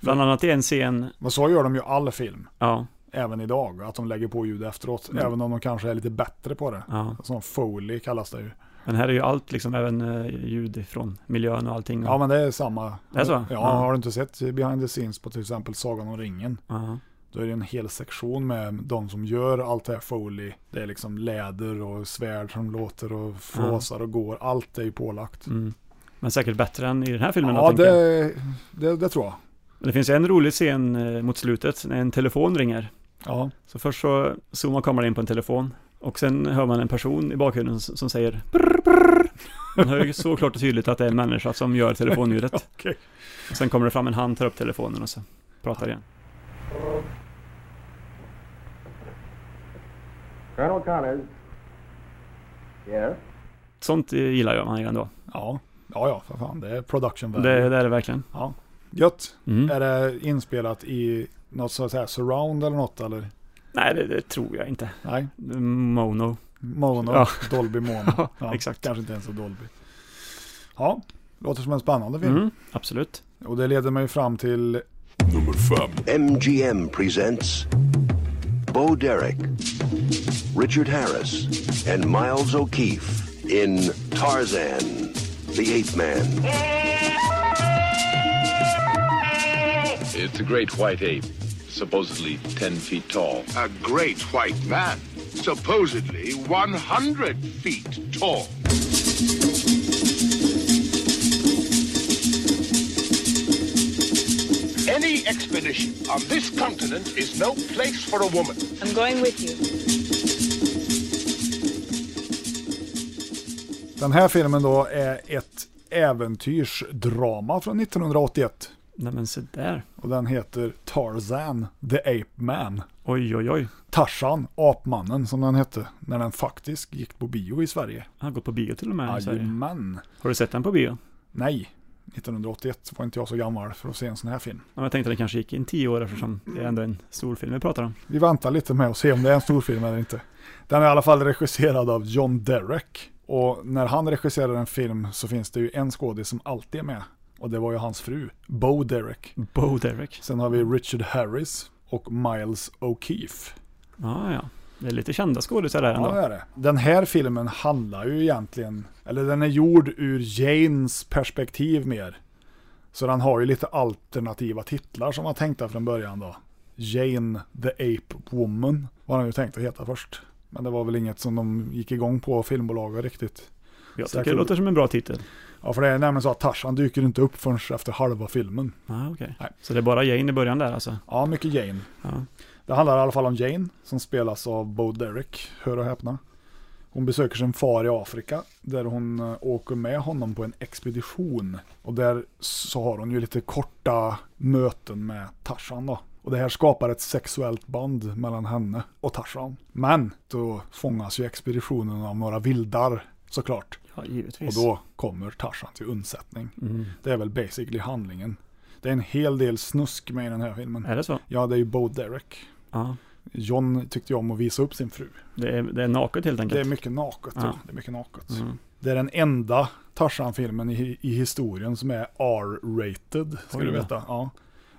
Speaker 4: Bland annat i en scen,
Speaker 3: Men så gör de ju all film,
Speaker 4: ja,
Speaker 3: även idag, att de lägger på ljud efteråt,
Speaker 4: Mm.
Speaker 3: även om de kanske är lite bättre på det.
Speaker 4: ja. Mm.
Speaker 3: Som Foley kallas det ju.
Speaker 4: Men här är ju allt liksom, även eh, ljud från miljön och allting.
Speaker 3: Ja, men det är samma.
Speaker 4: Det är så?
Speaker 3: Ja,
Speaker 4: Ja.
Speaker 3: har du inte sett behind the scenes på till exempel Sagan om ringen?
Speaker 4: Ja.
Speaker 3: Då är det en hel sektion med de som gör allt det här Foley. Det är liksom läder och svärd som låter och flåsar och går. Allt är ju pålagt.
Speaker 4: Mm. Men säkert bättre än i den här filmen. då,
Speaker 3: ja,
Speaker 4: tänker jag.
Speaker 3: det, det, det tror jag.
Speaker 4: Men Det finns en rolig scen eh, mot slutet när en telefon ringer.
Speaker 3: Ja.
Speaker 4: Så först så zoomar kameran in på en telefon och sen hör man en person i bakgrunden s- som säger brr, brr. Man hör ju så klart och tydligt att det är en människa som gör telefonljudet.
Speaker 3: Okej.
Speaker 4: Och sen kommer det fram en hand, tar upp telefonen och så pratar igen.
Speaker 18: Colonel Connors. Yes?
Speaker 4: Sånt eh, gillar jag man ju ändå.
Speaker 3: Ja. Ja, ja, för fan. Det är production
Speaker 4: value. Det, det är det verkligen.
Speaker 3: Ja. Gött. Mm. Är det inspelat i något så att säga surround eller något eller?
Speaker 4: Nej, det, det tror jag inte.
Speaker 3: Nej.
Speaker 4: Mono.
Speaker 3: Mono. Ja. Dolby Mono.
Speaker 4: Ja, exakt.
Speaker 3: Kanske inte ens så Dolby. Ja, låter som en spännande film. Mm,
Speaker 4: absolut.
Speaker 3: Och det leder mig fram till...
Speaker 16: Nummer fem.
Speaker 18: MGM presents Bo Derek, Richard Harris and Miles O'Keefe in Tarzan, the Ape Man.
Speaker 19: It's a great white ape, supposedly 10 feet tall.
Speaker 20: A great white man, supposedly 100 feet tall. Any expedition on this continent is no place for a woman.
Speaker 21: I'm going with you.
Speaker 3: Den här filmen då är ett äventyrsdrama från 1981.
Speaker 4: Nej men se där.
Speaker 3: Och den heter Tarzan, The Ape Man.
Speaker 4: Oj oj oj.
Speaker 3: Tarzan, Apmannen som den hette, när den faktiskt gick på bio i Sverige.
Speaker 4: Han gått på bio till och med i Sverige.
Speaker 3: Jajamän.
Speaker 4: Har du sett den på bio?
Speaker 3: Nej. 1981 var inte jag så gammal för att se en sån här film.
Speaker 4: Ja, jag tänkte att den kanske gick in tio år eftersom det är ändå en stor film vi pratar om.
Speaker 3: Vi väntar lite med att se om det är en stor film eller inte. Den är i alla fall regisserad av John Derek. Och när han regisserar en film så finns det ju en skådis som alltid är med och det var ju hans fru, Bo Derek.
Speaker 4: Bo Derek.
Speaker 3: Sen har vi Richard Harris och Miles O'Keefe.
Speaker 4: Ah, ja, det är lite kända skådisar där ändå.
Speaker 3: Ja, det är det. Den här filmen handlar ju egentligen, eller den är gjord ur Janes perspektiv mer. Så den har ju lite alternativa titlar som var tänkta från början då. Jane the Ape Woman var den ju tänkt att heta först. Men det var väl inget som de gick igång på filmbolaget riktigt.
Speaker 4: Jag tycker Säkert. det låter som en bra titel.
Speaker 3: Ja, för det är nämligen så att Tarzan dyker inte upp förrän efter halva filmen.
Speaker 4: Ah, okay. Nej. Så det är bara Jane i början där alltså?
Speaker 3: Ja, mycket Jane. Ja. Det handlar i alla fall om Jane, som spelas av Bo Derek, hör och häpna. Hon besöker sin far i Afrika, där hon eh, åker med honom på en expedition. Och där så har hon ju lite korta möten med Tarzan då. Och det här skapar ett sexuellt band mellan henne och Tarzan. Men då fångas ju expeditionen av några vildar såklart.
Speaker 4: Ja, givetvis.
Speaker 3: Och då kommer Tarzan till undsättning. Mm. Det är väl basically handlingen. Det är en hel del snusk med i den här filmen.
Speaker 4: Är det så?
Speaker 3: Ja, det är ju Bo Derek.
Speaker 4: Ja.
Speaker 3: John tyckte ju om att visa upp sin fru.
Speaker 4: Det är, det är naket helt enkelt?
Speaker 3: Det är mycket naket. Ja. Det är mycket naket. Mm. Det är den enda Tarzan-filmen i, i, historien som är R-rated, ska Oj, du veta. Ja.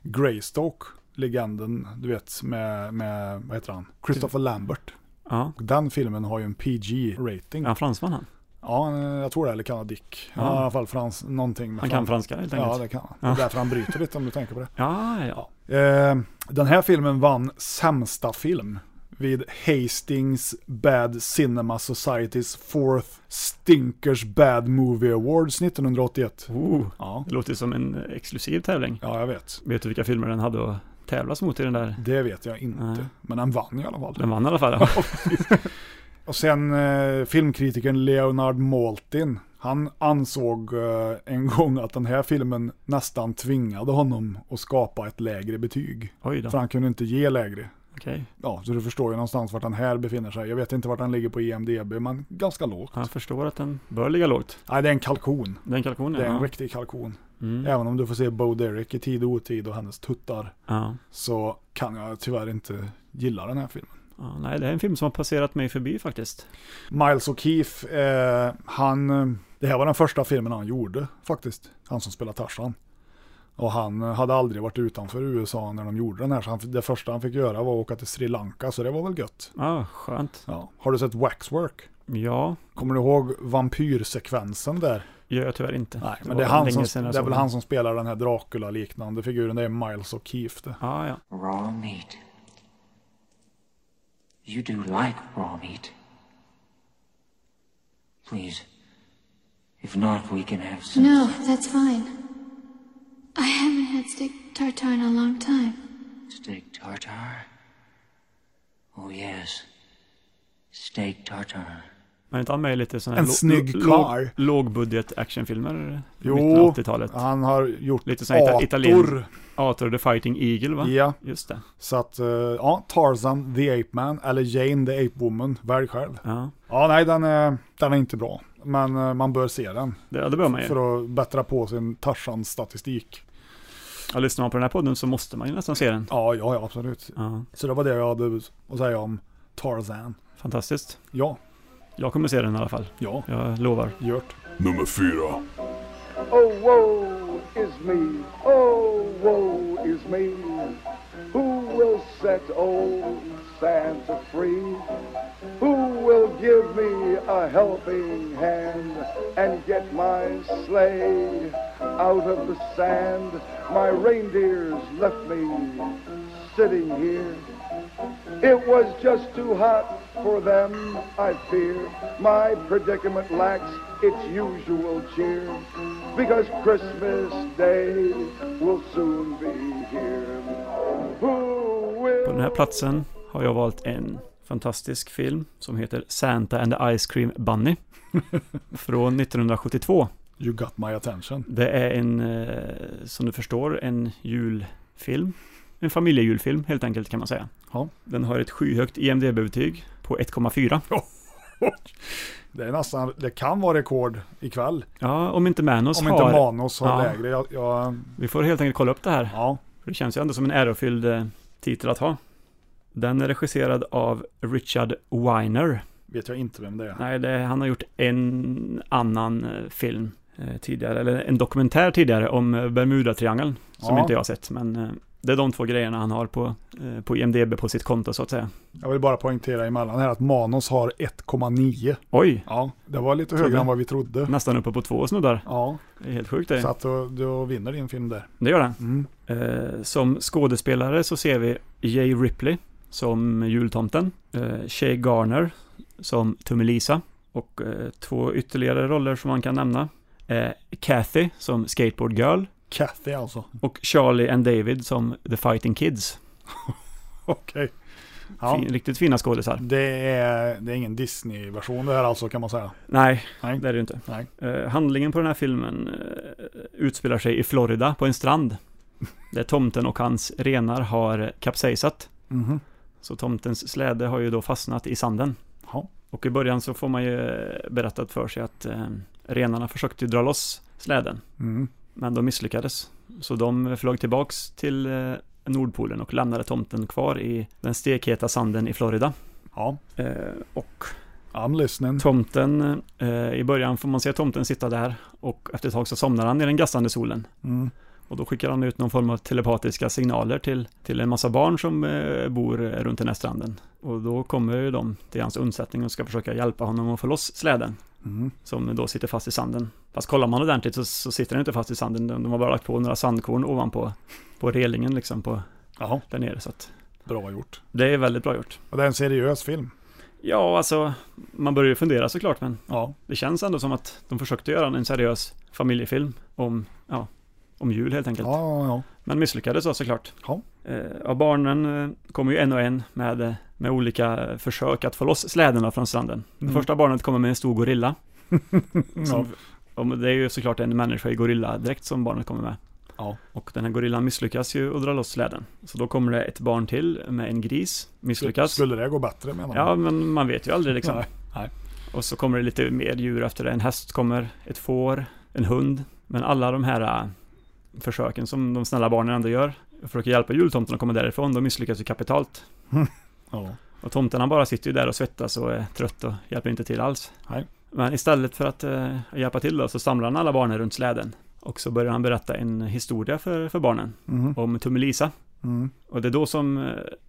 Speaker 3: Greystoke, legenden, du vet, med, med vad heter han? Christopher Lambert.
Speaker 4: Ja.
Speaker 3: Den filmen har ju en PG-rating.
Speaker 4: Ja, fransman han.
Speaker 3: Ja, jag tror det, eller kanadick. Ja. Ja, I alla fall frans, någonting.
Speaker 4: han kan franska helt enkelt.
Speaker 3: Ja, det kan han. Ja. Det är därför han bryter lite om du tänker på det.
Speaker 4: Ja, ja.
Speaker 3: Eh, den här filmen vann sämsta film vid Hastings Bad Cinema Societys Fourth Stinkers Bad Movie Awards 1981.
Speaker 4: Oh, ja. Det låter som en exklusiv tävling.
Speaker 3: Ja, jag vet.
Speaker 4: Vet du vilka filmer den hade att tävlas mot i den där?
Speaker 3: Det vet jag inte, Nej. men den vann i alla fall.
Speaker 4: Den vann i alla fall, ja.
Speaker 3: Och sen eh, filmkritikern Leonard Maltin, han ansåg eh, en gång att den här filmen nästan tvingade honom att skapa ett lägre betyg. För han kunde inte ge lägre.
Speaker 4: Okay.
Speaker 3: Ja, så du förstår ju någonstans vart den här befinner sig. Jag vet inte vart den ligger på E IMDB, men ganska lågt.
Speaker 4: Jag förstår att den bör ligga lågt.
Speaker 3: Nej, det är en kalkon.
Speaker 4: Det är en kalkon,
Speaker 3: Det är en ja. riktig kalkon. Mm. Även om du får se Bo Derek i tid och otid och hennes tuttar.
Speaker 4: Ja.
Speaker 3: Så kan jag tyvärr inte gilla den här filmen.
Speaker 4: Ja, nej, det är en film som har passerat mig förbi faktiskt.
Speaker 3: Miles O'Keefe, eh, han... Det här var den första filmen han gjorde faktiskt. Han som spelar Tarzan. Och han eh, hade aldrig varit utanför USA när de gjorde den här. Så han, det första han fick göra var att åka till Sri Lanka, så det var väl gött.
Speaker 4: Ah, skönt.
Speaker 3: Ja. Har du sett Waxwork?
Speaker 4: Ja.
Speaker 3: Kommer du ihåg vampyrsekvensen där?
Speaker 4: Gör jag tyvärr inte.
Speaker 3: Nej, men det, det, han som, det är väl han som spelar den här Dracula-liknande figuren. Det är Miles O'Keefe.
Speaker 4: Ah, ja.
Speaker 22: Raw meat. You do like raw meat. Please. If not, we can have some.
Speaker 23: No, Oh, that's fine. I haven't had steak tartare in a long time.
Speaker 22: Steak tartare? Oh, yes. Steak tartare.
Speaker 4: Men inte han med i lite sådana
Speaker 3: här en snygg karl.
Speaker 4: lågbudget actionfilmer?
Speaker 3: Jo,
Speaker 4: 80-talet.
Speaker 3: han har gjort
Speaker 4: lite sådana ator. Italien, ator the Fighting Eagle va?
Speaker 3: Ja.
Speaker 4: Just det.
Speaker 3: Så att, eh, ja, Tarzan the Ape Man eller Jane the Ape Woman, välj själv.
Speaker 4: Ja.
Speaker 3: ja, nej den är, den är inte bra. Men eh, man bör se den.
Speaker 4: Ja, det bör man ju.
Speaker 3: För att bättra på sin Tarzan-statistik.
Speaker 4: Ja, lyssnar man på den här podden så måste man ju nästan se den.
Speaker 3: Ja, ja, ja absolut. Så det var det jag hade att säga om Tarzan.
Speaker 4: Fantastiskt.
Speaker 3: Ja.
Speaker 4: Jag kommer se den i alla fall.
Speaker 3: Ja.
Speaker 4: Jag lovar.
Speaker 3: Gjort.
Speaker 16: Nummer fyra.
Speaker 7: Oh, woe is me. Oh, woe is me. Who will set old Santa free? Who will give me a helping hand and get my sleigh out of the sand? My reindeers left me sitting here. It was just too hot for them, I fear. My predicament lacks its usual cheer because Christmas Day will soon be here. Who will
Speaker 4: På den här platsen har jag valt en fantastisk film som heter Santa and the Ice Cream Bunny från 1972.
Speaker 3: You got my attention.
Speaker 4: Det är en, eh, som du förstår, en julfilm. En familjejulfilm helt enkelt kan man säga.
Speaker 3: Ja.
Speaker 4: Den har ett skyhögt E IMDB-betyg på 1,4.
Speaker 3: Det är nästan, det kan vara rekord ikväll.
Speaker 4: Ja, om inte Manos
Speaker 3: Om
Speaker 4: har...
Speaker 3: inte Manos har
Speaker 4: Ja,
Speaker 3: lägre. Jag, jag,
Speaker 4: Vi får helt enkelt kolla upp det här.
Speaker 3: Ja.
Speaker 4: Det känns ju ändå som en ärofylld eh, titel att ha. Den är regisserad av Richard Weiner.
Speaker 3: vet jag inte vem det är.
Speaker 4: Nej, det, han har gjort en annan eh, film eh, tidigare, eller en dokumentär tidigare om eh, Bermuda-triangeln, som
Speaker 3: Ja.
Speaker 4: inte jag har sett, men eh, det är de två grejerna han har på, eh, på IMDB på sitt konto så att säga.
Speaker 3: Jag vill bara poängtera emellan här att Manos har 1,9.
Speaker 4: Oj!
Speaker 3: Ja, det var lite
Speaker 4: Trodde.
Speaker 3: högre än vad vi trodde.
Speaker 4: Nästan uppe på två snuddar.
Speaker 3: Ja,
Speaker 4: Det är helt sjukt det.
Speaker 3: så att Mm. då, då vinner din film där.
Speaker 4: Det gör den. Eh, som skådespelare så ser vi Jay Ripley som jultomten, eh, Shay Garner som Tummelisa och eh, två ytterligare roller som man kan nämna. Eh, Kathy som Skateboard Girl
Speaker 3: Kathy alltså.
Speaker 4: och Charlie and David som The Fighting Kids.
Speaker 3: Okej. Ja.
Speaker 4: Fin, riktigt fina skådisar.
Speaker 3: Det är, det är ingen Disney-version det här alltså kan man säga.
Speaker 4: Nej,
Speaker 3: Nej.
Speaker 4: det är det ju inte.
Speaker 3: Nej.
Speaker 4: Eh, handlingen på den här filmen eh, utspelar sig i Florida på en strand. Där tomten och hans renar har kapsejsat.
Speaker 3: Mhm.
Speaker 4: Så tomtens släde har ju då fastnat i sanden.
Speaker 3: Ja.
Speaker 4: Och i början så får man ju eh, berättat för sig att eh, renarna försökte dra loss släden.
Speaker 3: Mm.
Speaker 4: Men de misslyckades. Så de flög tillbaks till eh, Nordpolen och lämnade tomten kvar i den stekheta sanden i Florida.
Speaker 3: Ja.
Speaker 4: Eh, och
Speaker 3: I'm listening.
Speaker 4: tomten, eh, i början får man se tomten sitta där och efter ett tag så somnar han i den gassande solen.
Speaker 3: Mm.
Speaker 4: Och då skickar han ut någon form av telepatiska signaler till, till en massa barn som eh, bor eh, runt den här stranden. Och då kommer ju de till hans undsättning och ska försöka hjälpa honom att få loss släden.
Speaker 3: Mm.
Speaker 4: Som då sitter fast i sanden. Fast kollar man ordentligt så, så sitter den inte fast i sanden. De, de har bara lagt på några sandkorn ovanpå på relingen liksom på,
Speaker 3: Jaha.
Speaker 4: där nere. Så att
Speaker 3: Bra gjort.
Speaker 4: det är väldigt bra gjort.
Speaker 3: Och det är en seriös film.
Speaker 4: Ja, alltså man börjar ju fundera såklart men
Speaker 3: Ja.
Speaker 4: det känns ändå som att de försökte göra en seriös familjefilm om, ja, om jul helt enkelt.
Speaker 3: Ja, ja, ja.
Speaker 4: Men misslyckades då såklart.
Speaker 3: Ja.
Speaker 4: Eh, och barnen eh, kommer ju en och en med, eh, med olika eh, försök att få loss släderna från stranden. Det
Speaker 3: Mm.
Speaker 4: första barnet kommer med en stor gorilla.
Speaker 3: Ja.
Speaker 4: som, och Det är ju såklart en människa i gorilladräkt som barnet kommer med.
Speaker 3: Ja.
Speaker 4: Och den här gorillan misslyckas ju att dra loss släden. Så då kommer det ett barn till med en gris, misslyckas.
Speaker 3: Skulle det gå bättre menar
Speaker 4: Ja, men man vet ju aldrig liksom.
Speaker 3: Nej, nej.
Speaker 4: Och så kommer det lite mer djur efter det. En häst kommer, ett får, en hund. Men alla de här äh, försöken som de snälla barnen ändå gör, försöker hjälpa jultomten att komma därifrån, de misslyckas ju kapitalt.
Speaker 3: Ja.
Speaker 4: Och tomten han bara sitter ju där och svettas och är trött och hjälper inte till alls.
Speaker 3: Nej.
Speaker 4: Men istället för att eh, hjälpa till då, så samlar han alla barnen runt släden. Och så börjar han berätta en historia för, för barnen
Speaker 3: Mhm.
Speaker 4: om Tummelisa.
Speaker 3: Mm.
Speaker 4: Och det är då som eh,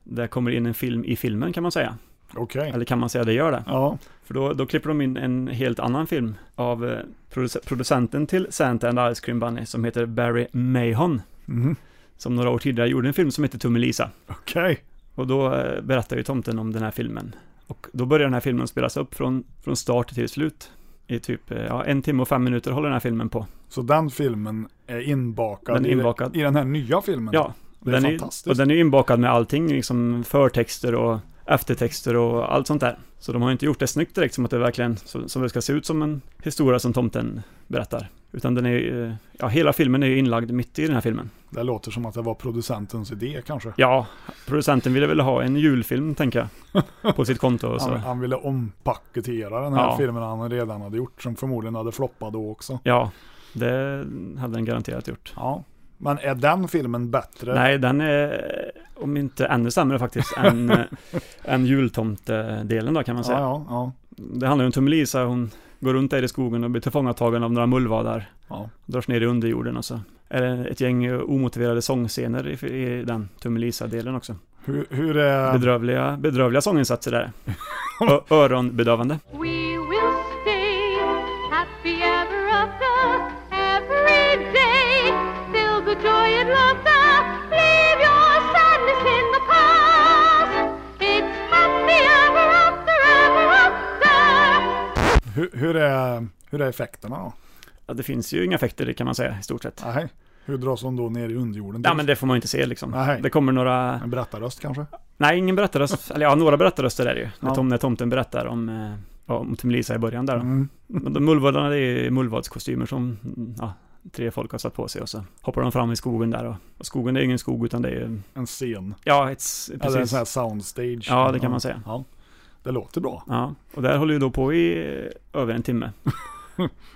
Speaker 4: det kommer in en film i filmen kan man säga.
Speaker 3: Okej.
Speaker 4: Eller kan man säga det gör det?
Speaker 3: Ja.
Speaker 4: För då, då klipper de in en helt annan film av eh, produce- producenten till Santa and the Ice Cream Bunny som heter Barry Mahon.
Speaker 3: Mhm.
Speaker 4: Som några år tidigare gjorde en film som heter Tummelisa.
Speaker 3: Okej.
Speaker 4: Och då eh, berättar ju tomten om den här filmen. Och då börjar den här filmen spelas upp från, från start till slut. I typ eh, ja, en timme och fem minuter håller den här filmen på.
Speaker 3: Så den filmen är inbakad,
Speaker 4: Den är
Speaker 3: i-
Speaker 4: inbakad.
Speaker 3: i den här nya filmen?
Speaker 4: Ja,
Speaker 3: Det är
Speaker 4: den
Speaker 3: fantastiskt.
Speaker 4: Och den är ju inbakad med allting, liksom förtexter och eftertexter och allt sånt där. Så de har ju inte gjort det snyggt direkt som att det verkligen, så- som det ska se ut som en historia som tomten berättar. Utan den är, eh, ja, hela filmen är ju inlagd mitt i den här filmen.
Speaker 3: Det låter som att det var producentens idé kanske.
Speaker 4: Ja, producenten ville väl ha en julfilm, tänker jag. På sitt konto och så.
Speaker 3: Han, han ville ompaketera den här
Speaker 4: alltså. Ja.
Speaker 3: filmen han redan hade gjort, som förmodligen hade floppat då också.
Speaker 4: Ja, det hade den garanterat gjort.
Speaker 3: Ja. Men är den filmen bättre?
Speaker 4: Nej, den är om inte ännu sämre faktiskt än, eh, än jultomtedelen då kan man säga.
Speaker 3: Ja, ja,
Speaker 4: Det handlar ju om Tummelisa, hon går runt där i skogen och blir tillfångatagen av några mullvadar.
Speaker 3: Ja.
Speaker 4: Dras ner i underjorden och så är det ett gäng eh, omotiverade sångscener i, i den Tummelisa-delen också.
Speaker 3: Hur, hur är...
Speaker 4: Bedrövliga, bedrövliga sånginsatser där. Ö- Öronbedövande.
Speaker 1: We will stay happy ever after, every day. Fill the joy and laughter, leave your sadness in the past. It's happy ever after, ever after.
Speaker 3: Hur, hur, är, hur är effekterna då?
Speaker 4: Ja, det finns ju inga effekter kan man säga i stort sett.
Speaker 3: Nej. Hur dras de då ner i underjorden?
Speaker 4: Ja men det får man ju inte se liksom.
Speaker 3: Nej.
Speaker 4: Det kommer några...
Speaker 3: En berättarröst kanske?
Speaker 4: Nej, ingen berättarröst. Eller ja, några berättarröster är det ju.
Speaker 3: Ja.
Speaker 4: När, tom, när tomten berättar om, eh, ja, om Tummelisa i början där. då.
Speaker 3: Mm.
Speaker 4: Men de mullvadarna, det är ju mullvadskostymer som mm, ja, tre folk har satt på sig och så hoppar de fram i skogen där. Och, och skogen är ju ingen skog utan det är ju...
Speaker 3: En scen?
Speaker 4: Ja, ett, s-
Speaker 3: Eller en
Speaker 4: precis.
Speaker 3: sån här soundstage?
Speaker 4: Ja, det kan man säga.
Speaker 3: Ja. Det låter bra.
Speaker 4: Ja, och där håller ju då på i eh, över en timme.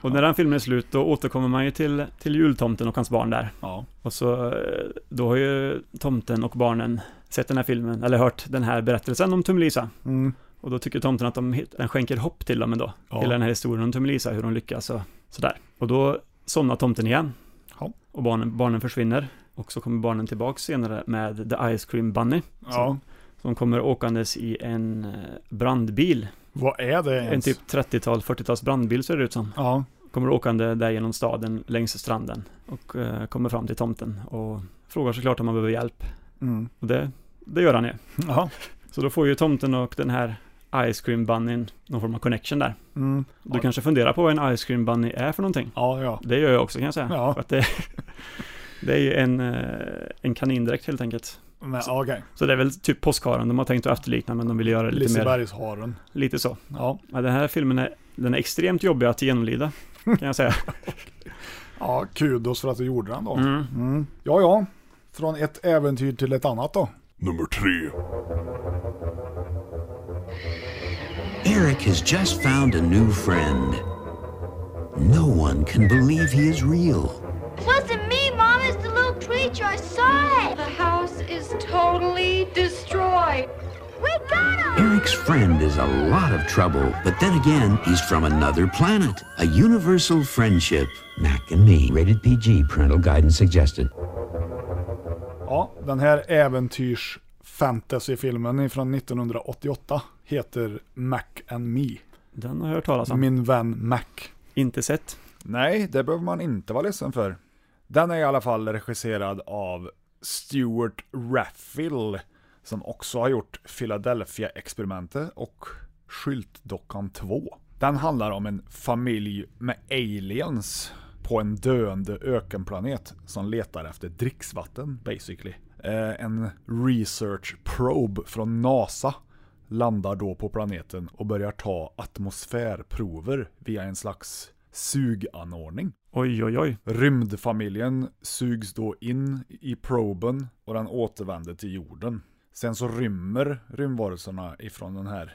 Speaker 4: Och när den filmen är slut då återkommer man ju till, till jultomten och hans barn där.
Speaker 3: Ja.
Speaker 4: Och så eh, då har ju tomten och barnen sett den här filmen, eller hört den här berättelsen om Tummelisa.
Speaker 3: Mm.
Speaker 4: Och då tycker tomten att de, hit- den skänker hopp till dem ändå.
Speaker 3: Ja.
Speaker 4: Hela den här historien om Tummelisa, hur hon lyckas och sådär. Och då somnar tomten igen.
Speaker 3: Ja.
Speaker 4: Och barnen, barnen försvinner. Och så kommer barnen tillbaka senare med The Ice Cream Bunny.
Speaker 3: Ja.
Speaker 4: Som, som kommer åkandes i en eh, brandbil.
Speaker 3: Vad är det ens?
Speaker 4: En typ 30-tal, 40-tals brandbil ser det ut som.
Speaker 3: Ja.
Speaker 4: Kommer åkande där genom staden längs stranden och eh, kommer fram till tomten och frågar såklart om han behöver hjälp.
Speaker 3: Mm.
Speaker 4: Och det, det gör han ju.
Speaker 3: Ja.
Speaker 4: Så då får ju tomten och den här Ice Cream Bunnyn någon form av connection där.
Speaker 3: Mm.
Speaker 4: Du kanske funderar på vad en Ice Cream Bunny är för någonting?
Speaker 3: Ja, ja.
Speaker 4: Det gör jag också kan jag säga.
Speaker 3: Ja.
Speaker 4: För att det, det är ju en, eh, en kanindräkt helt enkelt.
Speaker 3: Nej,
Speaker 4: Så-
Speaker 3: ja, okej.
Speaker 4: Så det är väl typ påskharen de har tänkt att efterlikna men de vill göra det lite mer
Speaker 3: Lisebergsharen.
Speaker 4: Lite så.
Speaker 3: Ja.
Speaker 4: Men den här filmen är, den är extremt jobbig att genomlida, kan jag säga.
Speaker 3: Ja, kudos för att du gjorde den då.
Speaker 4: Mm.
Speaker 3: Mm. Ja, ja. Från ett äventyr till ett annat då.
Speaker 16: Nummer tre.
Speaker 2: Eric has just found a new friend. No one can believe he is real.
Speaker 23: It wasn't me, Mom. It's the little creature. I saw it. The house is totally destroyed. We got him!
Speaker 2: Eric's friend is a lot of trouble, but then again, he's from another planet. A universal friendship. Mac and me. Rated PG. Parental guidance suggested.
Speaker 3: Ja, den här äventyrs fantasyfilmen ifrån 1988 heter Mac and Me.
Speaker 4: Den har jag hört talas om.
Speaker 3: Min vän Mac.
Speaker 4: Inte sett.
Speaker 3: Nej, det behöver man inte vara ledsen för. Den är i alla fall regisserad av Stuart Raffil som också har gjort Philadelphia-experimentet och Skyltdockan 2. Den handlar om en familj med aliens på en döende ökenplanet som letar efter dricksvatten basically. Eh, En research probe från NASA landar då på planeten och börjar ta atmosfärprover via en slags suganordning.
Speaker 4: Oj, oj, oj.
Speaker 3: Rymdfamiljen sugs då in i proben och den återvänder till jorden. Sen så rymmer rymdvarelserna ifrån den här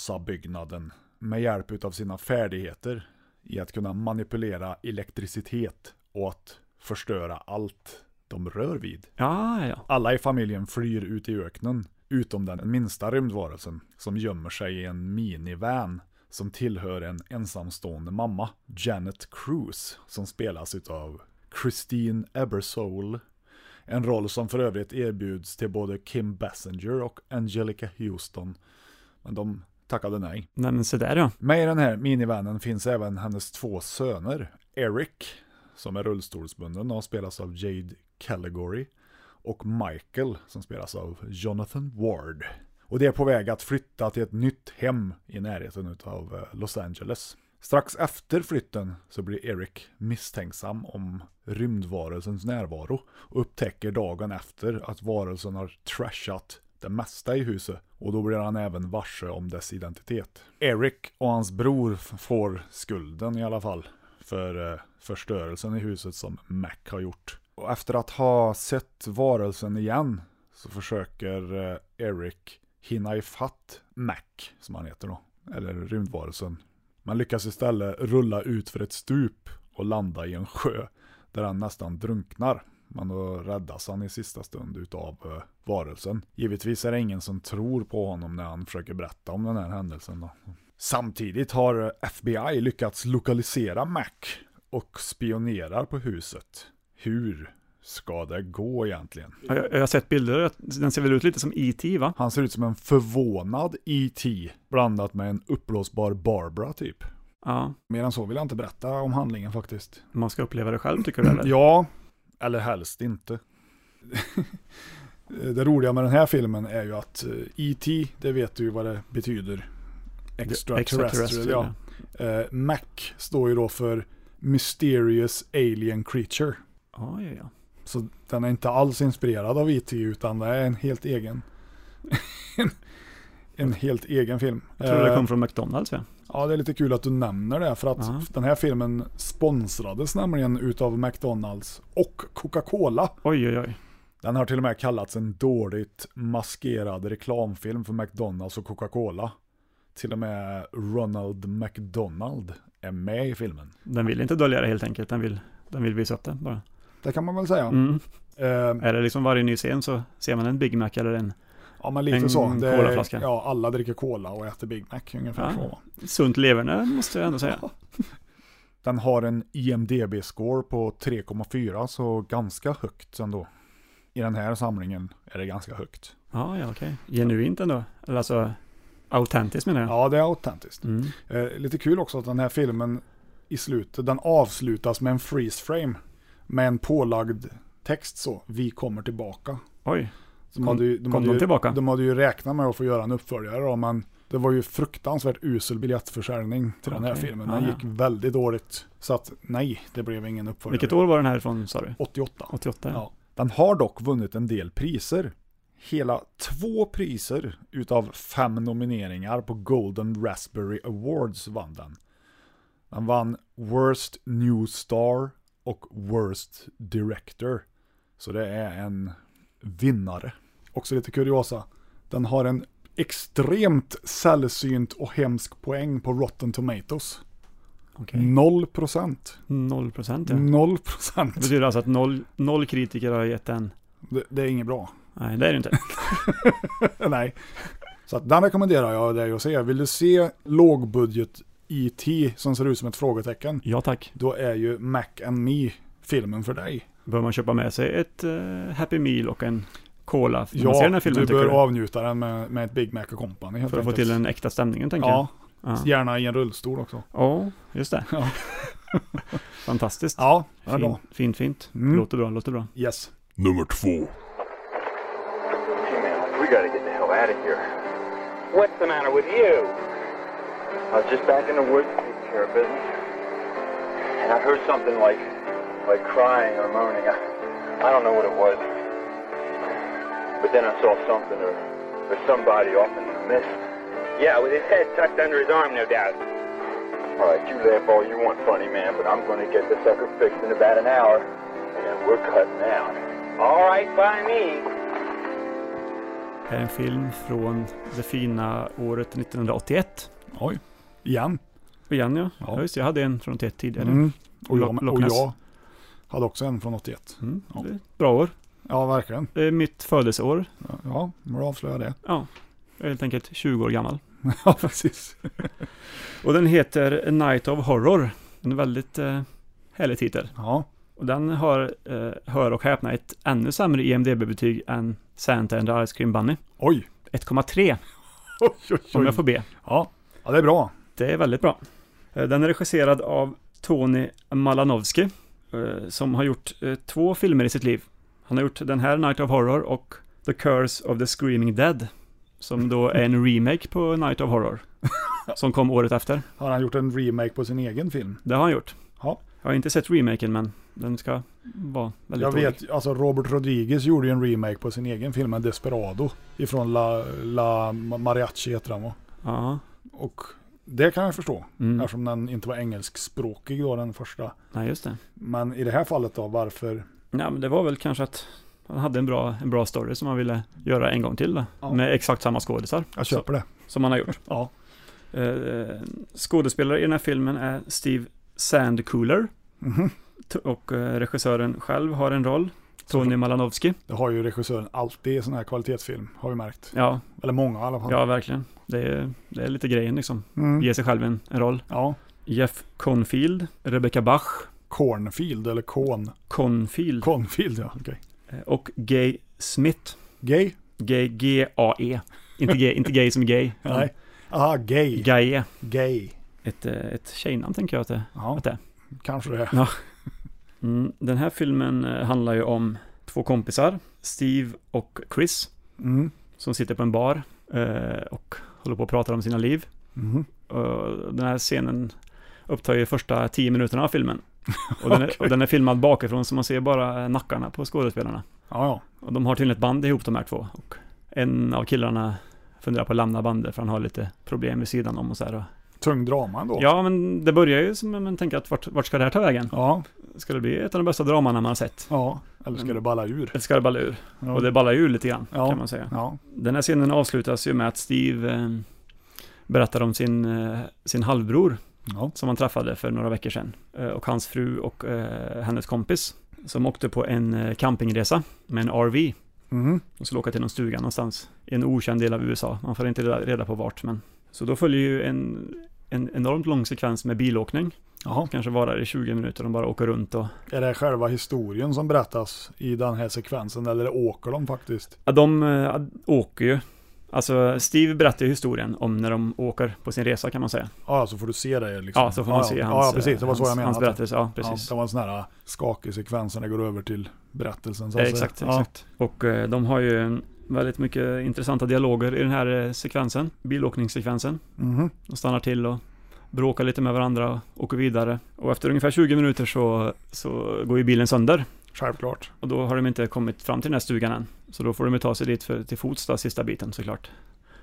Speaker 3: NASA-byggnaden med hjälp av sina färdigheter i att kunna manipulera elektricitet och att förstöra allt de rör vid.
Speaker 4: Ja, ja.
Speaker 3: Alla i familjen flyr ut i öknen, utom den minsta rymdvarelsen som gömmer sig i en minivan som tillhör en ensamstående mamma, Janet Cruz, som spelas utav Christine Ebersole. En roll som för övrigt erbjuds till både Kim Basinger och Angelica Houston. Men de tackade nej.
Speaker 4: Nej, men se där ja.
Speaker 3: Med i den här minivanen finns även hennes två söner, Eric, som är rullstolsbunden och spelas av Jade Caligory, och Michael, som spelas av Jonathan Ward. Och de är på väg att flytta till ett nytt hem i närheten av Los Angeles. Strax efter flytten så blir Eric misstänksam om rymdvarelsens närvaro och upptäcker dagen efter att varelsen har trashat det mesta i huset och då blir han även varse om dess identitet. Eric och hans bror f- får skulden i alla fall för eh, förstörelsen i huset som Mac har gjort. Och efter att ha sett varelsen igen så försöker eh, Eric hinna ifatt Mac, som han heter då, eller rymdvarelsen. Man lyckas istället rulla ut för ett stup och landa i en sjö där han nästan drunknar. Men då räddas han i sista stund utav eh, varelsen. Givetvis är det ingen som tror på honom när han försöker berätta om den här händelsen. Då. Samtidigt har FBI lyckats lokalisera Mac och spionerar på huset. Hur ska det gå egentligen?
Speaker 4: Ja, Jag, jag har sett bilder, den ser väl ut lite som E.T. va?
Speaker 3: Han ser ut som en förvånad E.T. blandat med en uppblåsbar Barbara typ.
Speaker 4: Ja.
Speaker 3: Mer än så vill jag inte berätta om handlingen faktiskt.
Speaker 4: Man ska uppleva det själv tycker du eller?
Speaker 3: Ja, eller helst inte. det roliga med den här filmen är ju att eh, E.T. det vet du ju vad det betyder. Extraterrestrial,
Speaker 4: extraterrestrial,
Speaker 3: ja. Eh, Mac står ju då för Mysterious Alien Creature.
Speaker 4: Ja, ja, ja.
Speaker 3: Så den är inte alls inspirerad av IT utan det är en helt egen. en helt egen film.
Speaker 4: Jag tror det
Speaker 3: Eh,
Speaker 4: kom från McDonalds ja.
Speaker 3: Ja, det är lite kul att du nämner det för att
Speaker 4: Ja.
Speaker 3: den här filmen sponsrades nämligen utav McDonalds och Coca-Cola.
Speaker 4: Oj, oj, oj.
Speaker 3: Den har till och med kallats en dåligt maskerad reklamfilm för McDonalds och Coca-Cola. Till och med Ronald McDonald är med i filmen.
Speaker 4: Den vill inte dölja det helt enkelt, den vill, den vill visa upp det bara.
Speaker 3: Det kan man väl säga.
Speaker 4: Mm.
Speaker 3: Eh,
Speaker 4: Är det liksom varje ny scen så ser man en Big Mac eller en
Speaker 3: ja, men lite
Speaker 4: en
Speaker 3: så. Det är-
Speaker 4: colaflaska. Ah.
Speaker 3: Ja, alla dricker cola och äter Big Mac ungefär
Speaker 4: Ja.
Speaker 3: så.
Speaker 4: sunt leverne måste jag ändå säga.
Speaker 3: Den har en IMDB-score på 3,4 så ganska högt ändå. I den här samlingen är det ganska högt.
Speaker 4: Ja, ja, okej. Genuint ändå. Eller alltså, autentiskt menar jag.
Speaker 3: Ja, det är autentiskt.
Speaker 4: Mm.
Speaker 3: Eh, lite kul också att den här filmen i slutet, den avslutas med en freeze frame. Med en pålagd text så, vi kommer tillbaka.
Speaker 4: Oj.
Speaker 3: De
Speaker 4: Kom-
Speaker 3: hade ju, de
Speaker 4: kom
Speaker 3: hade
Speaker 4: de
Speaker 3: ju,
Speaker 4: tillbaka?
Speaker 3: De hade ju räknat med att få göra en uppföljare då, men det var ju fruktansvärt usel biljettförsäljning till den här
Speaker 4: Okej.
Speaker 3: filmen.
Speaker 4: Ja,
Speaker 3: Den
Speaker 4: ja.
Speaker 3: gick väldigt dåligt. Så att nej, det blev ingen uppföljare.
Speaker 4: Vilket år var den här ifrån sa du?
Speaker 3: 88.
Speaker 4: 88?
Speaker 3: Ja. Den har dock vunnit en del priser. Hela två priser utav fem nomineringar på Golden Raspberry Awards vann den. Den vann Worst New Star och Worst Director. Så det är en vinnare. Också lite kuriosa. Den har en extremt sällsynt och hemsk poäng på Rotten Tomatoes.
Speaker 4: Okej.
Speaker 3: Noll procent.
Speaker 4: Noll procent Mm. ja.
Speaker 3: Noll procent.
Speaker 4: Det betyder alltså att noll, noll kritiker har gett den.
Speaker 3: Det, det är inget bra.
Speaker 4: Nej, det är det inte.
Speaker 3: Nej. Så att den rekommenderar jag dig att se. Vill du se lågbudget IT som ser ut som ett frågetecken,
Speaker 4: Ja tack.
Speaker 3: då är ju Mac and Me filmen för dig.
Speaker 4: Bör man köpa med sig ett eh, Happy Meal och en Cola när man ser den
Speaker 3: Ja,
Speaker 4: här filmen?
Speaker 3: du
Speaker 4: tycker
Speaker 3: bör avnjuta den med, med ett Big Mac och Company helt
Speaker 4: För att få
Speaker 3: enkelt.
Speaker 4: till den äkta stämningen tänker
Speaker 3: Ja,
Speaker 4: jag. Ja.
Speaker 3: gärna i en rullstol också.
Speaker 4: Ja, just det.
Speaker 3: Ja.
Speaker 4: Fantastiskt.
Speaker 3: Ja, det är
Speaker 4: Fin,
Speaker 3: bra.
Speaker 4: fint, fint.
Speaker 3: Mm.
Speaker 4: Låter bra, låter bra.
Speaker 3: Yes.
Speaker 16: Nummer två.
Speaker 12: We gotta get the hell out of here. What's the matter with you? I was just back in the woods taking care of business. And I heard something like like crying or moaning. I, I don't know what it was. But then I saw something or, or somebody off in the mist. Yeah, with his head tucked under his arm, no doubt. All right, you laugh all you want, funny man, but I'm gonna get the sucker fixed in about an hour, and then we're cutting out. All right, by me.
Speaker 4: Det är en film från det fina året 1981.
Speaker 3: Oj. Igen.
Speaker 4: Och igen ja.
Speaker 3: Ja.
Speaker 4: ja. just det, jag hade en från 81 tidigare.
Speaker 3: Mm. Och, jag,
Speaker 4: Loch-
Speaker 3: och
Speaker 4: Loch Ness.
Speaker 3: jag hade också en från 81.
Speaker 4: Mm.
Speaker 3: Ja.
Speaker 4: det är ett Bra år.
Speaker 3: Ja, verkligen.
Speaker 4: Det är mitt födelseår.
Speaker 3: Ja, men då avslöjar jag det.
Speaker 4: Ja, jag är helt enkelt 20 år gammal.
Speaker 3: Ja, precis.
Speaker 4: Och den heter A Night of Horror. En väldigt eh, härlig titel.
Speaker 3: Ja,
Speaker 4: Och den har, eh, hör och häpna, ett ännu sämre E IMDB-betyg än Santa and the Ice Cream Bunny.
Speaker 3: Oj.
Speaker 4: 1,3
Speaker 3: oj, oj,
Speaker 4: om
Speaker 3: oj.
Speaker 4: jag får be.
Speaker 3: Ja. ja, det är bra.
Speaker 4: Det är väldigt bra. Eh, Den är regisserad av Tony Malanowski eh, som har gjort eh, två filmer i sitt liv. Han har gjort den här Night of Horror och The Curse of the Screaming Dead som då är en remake på Night of Horror som kom året efter.
Speaker 3: Har han gjort en remake på sin egen film?
Speaker 4: Det har han gjort.
Speaker 3: Ja.
Speaker 4: Jag har inte sett remaken men den ska vara väldigt
Speaker 3: Jag
Speaker 4: dålig.
Speaker 3: vet, alltså Robert Rodriguez gjorde ju en remake på sin egen film, en Desperado. Ifrån La, La Mariachi heter den va?
Speaker 4: Ja.
Speaker 3: Och Det kan jag förstå,
Speaker 4: Mm.
Speaker 3: eftersom den inte var engelskspråkig då, den första.
Speaker 4: Nej, just det.
Speaker 3: Men i det här fallet då, varför?
Speaker 4: Nej, men det var väl kanske att han hade en bra, en bra story som han ville göra en gång till då,
Speaker 3: Ja.
Speaker 4: Med exakt samma skådisar.
Speaker 3: Jag köper
Speaker 4: Så-
Speaker 3: det.
Speaker 4: Som han har gjort.
Speaker 3: ja.
Speaker 4: Eh, skådespelare i den här filmen är Steve Sandcooler.
Speaker 3: Mhm.
Speaker 4: T- Och eh, regissören själv har en roll. Tony Malanowski.
Speaker 3: Det har ju regissören alltid i sån här kvalitetsfilm, har vi märkt.
Speaker 4: Ja.
Speaker 3: Eller många i alla fall.
Speaker 4: Ja, verkligen. Det är, det är lite grejen liksom.
Speaker 3: Mm.
Speaker 4: Ge sig själv en, en roll.
Speaker 3: Ja.
Speaker 4: Jeff Confield, Rebecca Bach.
Speaker 3: Cornfield eller Con?
Speaker 4: Confield.
Speaker 3: Confield, ja. Okej.
Speaker 4: Eh, Och Gay Smith.
Speaker 3: Gay?
Speaker 4: Gay, G-A-E. Inte gay, inte gay som gay.
Speaker 3: Nej. Aha, gay.
Speaker 4: Gaie.
Speaker 3: Gay.
Speaker 4: Ett, eh, ett tjejnamn tänker jag att det, att det är.
Speaker 3: Kanske det.
Speaker 4: Ja. Mm, den här filmen eh, handlar ju om två kompisar, Steve och Chris,
Speaker 3: Mm.
Speaker 4: som sitter på en bar eh, och håller på att prata om sina liv.
Speaker 3: Mhm.
Speaker 4: Och den här scenen upptar ju första tio minuterna av filmen. Och den, är, och den är filmad bakifrån så man ser bara nackarna på skådespelarna.
Speaker 3: Ja, ja.
Speaker 4: Och de har tydligen ett band ihop de här två. Och en av killarna funderar på att lämna bandet för han har lite problem vid sidan om och så här. Och
Speaker 3: Tung drama ändå.
Speaker 4: Ja, men det börjar ju som man tänker att vart, vart ska det här ta vägen?
Speaker 3: Ja.
Speaker 4: Ska det bli ett av de bästa dramarna man har sett?
Speaker 3: Ja, eller ska det balla ur?
Speaker 4: Eller ska det balla ur?
Speaker 3: Ja.
Speaker 4: Och det ballar ur lite grann,
Speaker 3: Ja.
Speaker 4: kan man säga.
Speaker 3: Ja.
Speaker 4: Den här scenen avslutas ju med att Steve eh, berättar om sin, eh, sin halvbror
Speaker 3: Ja.
Speaker 4: som han träffade för några veckor sedan. Eh, och hans fru och eh, hennes kompis som åkte på en eh, campingresa med en RV.
Speaker 3: Mhm.
Speaker 4: De skulle åka till någon stuga någonstans i en okänd del av USA. Man får inte reda, reda på vart, men... Så då följer ju en, en enormt lång sekvens med bilåkning.
Speaker 3: Jaha.
Speaker 4: Kanske varar i 20 minuter, de bara åker runt och
Speaker 3: Är det själva historien som berättas i den här sekvensen eller åker de faktiskt?
Speaker 4: Ja, de eh, åker ju. Alltså, Steve berättar ju historien om när de åker på sin resa kan man säga.
Speaker 3: Ja, så får du se det liksom.
Speaker 4: Ja, så får man se
Speaker 3: ja.
Speaker 4: hans,
Speaker 3: Ja, precis. Det var så
Speaker 4: hans-
Speaker 3: jag menade.
Speaker 4: hans berättelse, ja, precis.
Speaker 3: det var en sån här skakig sekvens när det går över till berättelsen. Så
Speaker 4: Eh,
Speaker 3: att säga.
Speaker 4: exakt,
Speaker 3: Ja.
Speaker 4: exakt. Och eh, de har ju en väldigt mycket intressanta dialoger i den här eh, sekvensen, bilåkningssekvensen.
Speaker 3: Mhm.
Speaker 4: De stannar till och bråkar lite med varandra och åker vidare. Och efter ungefär 20 minuter så, så går ju bilen sönder.
Speaker 3: Självklart.
Speaker 4: Och då har de inte kommit fram till den här stugan än. Så då får de ju ta sig dit för, till fots då, sista biten såklart.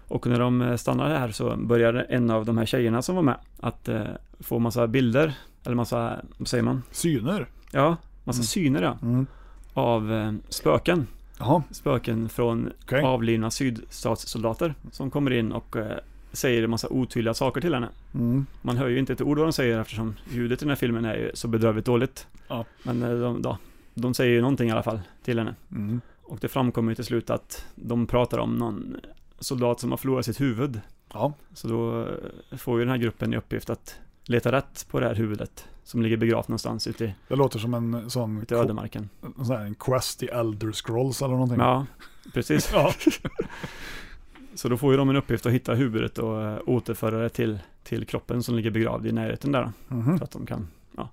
Speaker 4: Och när de eh, stannar här så börjar en av de här tjejerna som var med att eh, få massa bilder, eller massa, vad säger man?
Speaker 3: Syner?
Speaker 4: Ja, massa
Speaker 3: Mm.
Speaker 4: syner ja.
Speaker 3: Mm.
Speaker 4: Av eh, spöken.
Speaker 3: Jaha.
Speaker 4: Spöken från
Speaker 3: Okej.
Speaker 4: avlidna sydstatssoldater som kommer in och eh, säger en massa otydliga saker till henne.
Speaker 3: Mm.
Speaker 4: Man hör ju inte ett ord vad de säger eftersom ljudet i den här filmen är ju så bedrövligt dåligt.
Speaker 3: Ja.
Speaker 4: Men eh, de, ja, de säger ju någonting i alla fall till henne.
Speaker 3: Mm.
Speaker 4: Och det framkommer ju till slut att de pratar om någon soldat som har förlorat sitt huvud.
Speaker 3: Ja.
Speaker 4: Så då eh, får ju den här gruppen i uppgift att leta rätt på det här huvudet som ligger begravt någonstans ute i
Speaker 3: Det låter som en sån...
Speaker 4: Ute i ödemarken.
Speaker 3: En sån här, en quest i Elder Scrolls eller någonting.
Speaker 4: Ja, precis.
Speaker 3: ja.
Speaker 4: Så då får ju de en uppgift att hitta huvudet och eh, återföra det till, till kroppen som ligger begravd i närheten där. då.
Speaker 3: Mhm.
Speaker 4: Så att de kan, ja.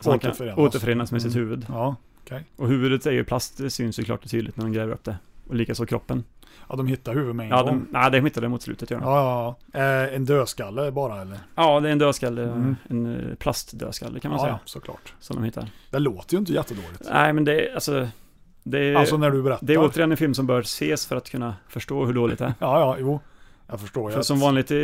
Speaker 4: Så han kan
Speaker 3: Återförenas.
Speaker 4: återförenas med sitt
Speaker 3: Mm.
Speaker 4: huvud.
Speaker 3: Ja, okej.
Speaker 4: Och huvudet är ju plast, det syns ju klart och tydligt när de gräver upp det. Och likaså kroppen.
Speaker 3: Ja, de hittar huvudet med en
Speaker 4: Ja,
Speaker 3: gång.
Speaker 4: de, nej, de hittar det mot slutet gör de.
Speaker 3: Ja, ja, ja. Eh, en dödskalle bara eller?
Speaker 4: Ja, det är en dödskalle,
Speaker 3: Mm.
Speaker 4: en eh, plastdödskalle kan man
Speaker 3: Ja,
Speaker 4: säga.
Speaker 3: ja, såklart.
Speaker 4: Som de hittar.
Speaker 3: Det låter ju inte jättedåligt.
Speaker 4: Nej, men det är alltså... Det är,
Speaker 3: Alltså, när du berättar.
Speaker 4: Det är återigen en film som bör ses för att kunna förstå hur dåligt det är.
Speaker 3: Ja, ja, jo. Jag förstår.
Speaker 4: För
Speaker 3: jag
Speaker 4: som vanligt i,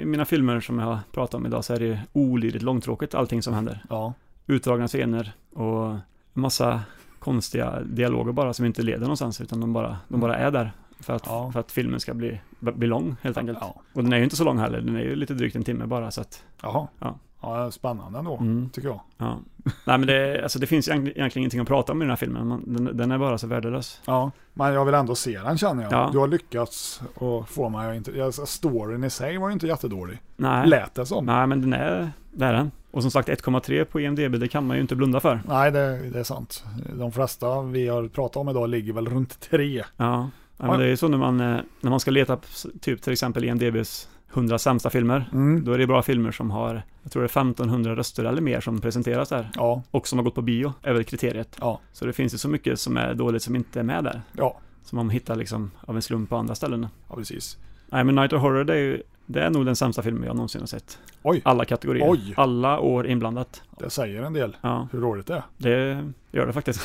Speaker 4: i mina filmer som jag har pratat om idag så är det ju olidligt långtråkigt allting som händer.
Speaker 3: Ja.
Speaker 4: Utdragna scener och massa konstiga dialoger bara som inte leder någonstans utan de bara, de bara
Speaker 3: Mm.
Speaker 4: är där. För att, för att filmen ska bli, bli lång helt enkelt. Och den är ju inte så lång heller, den är ju lite drygt en timme bara så att...
Speaker 3: Jaha.
Speaker 4: Ja.
Speaker 3: Ja, spännande ändå,
Speaker 4: Mm.
Speaker 3: tycker jag.
Speaker 4: Ja. Nej men det, alltså det finns ju egentligen egentligen ingenting att prata om i den här filmen. Man, den, den är bara så värdelös.
Speaker 3: Ja, men jag vill ändå se den känner jag.
Speaker 4: Ja.
Speaker 3: Du har lyckats och få mig att inte... Jag, alltså, storyn i sig var ju inte jättedålig.
Speaker 4: Nej.
Speaker 3: Lät det som.
Speaker 4: Nej men den är, det är den. Och som sagt 1,3 på E IMDB, det kan man ju inte blunda för.
Speaker 3: Nej, det, det är sant. De flesta vi har pratat om idag ligger väl runt tre.
Speaker 4: Ja, ja men det är ju så när man, eh, när man ska leta på s- typ till exempel IMDBs 100 sämsta filmer.
Speaker 3: Mm.
Speaker 4: Då är det bra filmer som har, jag tror det är 1500 röster eller mer som presenteras där.
Speaker 3: Ja.
Speaker 4: Och som har gått på bio, är väl kriteriet.
Speaker 3: Ja.
Speaker 4: Så det finns ju så mycket som är dåligt som inte är med där.
Speaker 3: Ja.
Speaker 4: Som man hittar liksom av en slump på andra ställen.
Speaker 3: Ja, precis.
Speaker 4: Nej, men Night of Horror, det är ju, det är nog den sämsta filmen jag någonsin har sett.
Speaker 3: Oj.
Speaker 4: Alla kategorier.
Speaker 3: Oj.
Speaker 4: Alla år inblandat.
Speaker 3: Det säger en del
Speaker 4: Ja.
Speaker 3: hur dåligt det är.
Speaker 4: Det gör det faktiskt.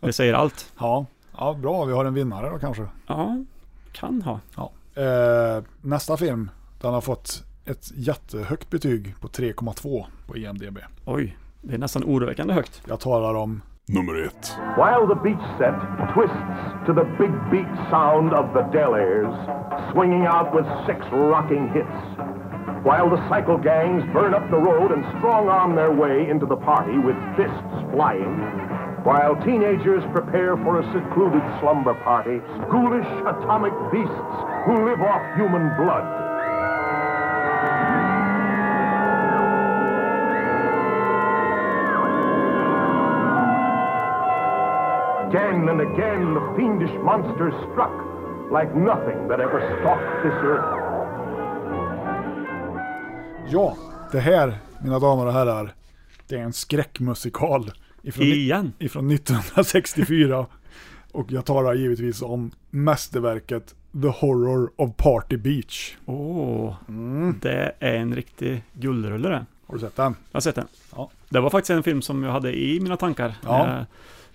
Speaker 4: det säger allt.
Speaker 3: Ja. ja, bra. Vi har en vinnare då kanske.
Speaker 4: Ja, kan ha.
Speaker 3: Ja. Eh, nästa film, den har fått ett jättehögt betyg på 3,2 på E IMDB.
Speaker 4: Oj, det är nästan oroväckande högt.
Speaker 3: Jag talar om
Speaker 16: nummer ett.
Speaker 5: While the beach set twists to the big beat sound of the Delairs, swinging out with six rocking hits. While the cycle gangs burn up the road and strong arm their way into the party with fists flying. While teenagers prepare for a secluded slumber party, ghoulish atomic beasts who live off human blood. Again and again, the fiendish monsters struck like nothing that ever stalked this earth.
Speaker 3: Ja, det här, mina damer och herrar, det är en skräckmusikal. Ifrån, ni-
Speaker 4: Igen?
Speaker 3: Ifrån 1964. och jag talar givetvis om mästerverket The Horror of Party Beach.
Speaker 4: Åh, det är en riktig guldrulle det.
Speaker 3: Har du sett den?
Speaker 4: Jag har sett den.
Speaker 3: Ja.
Speaker 4: Det var faktiskt en film som jag hade i mina tankar
Speaker 3: Ja.
Speaker 4: när jag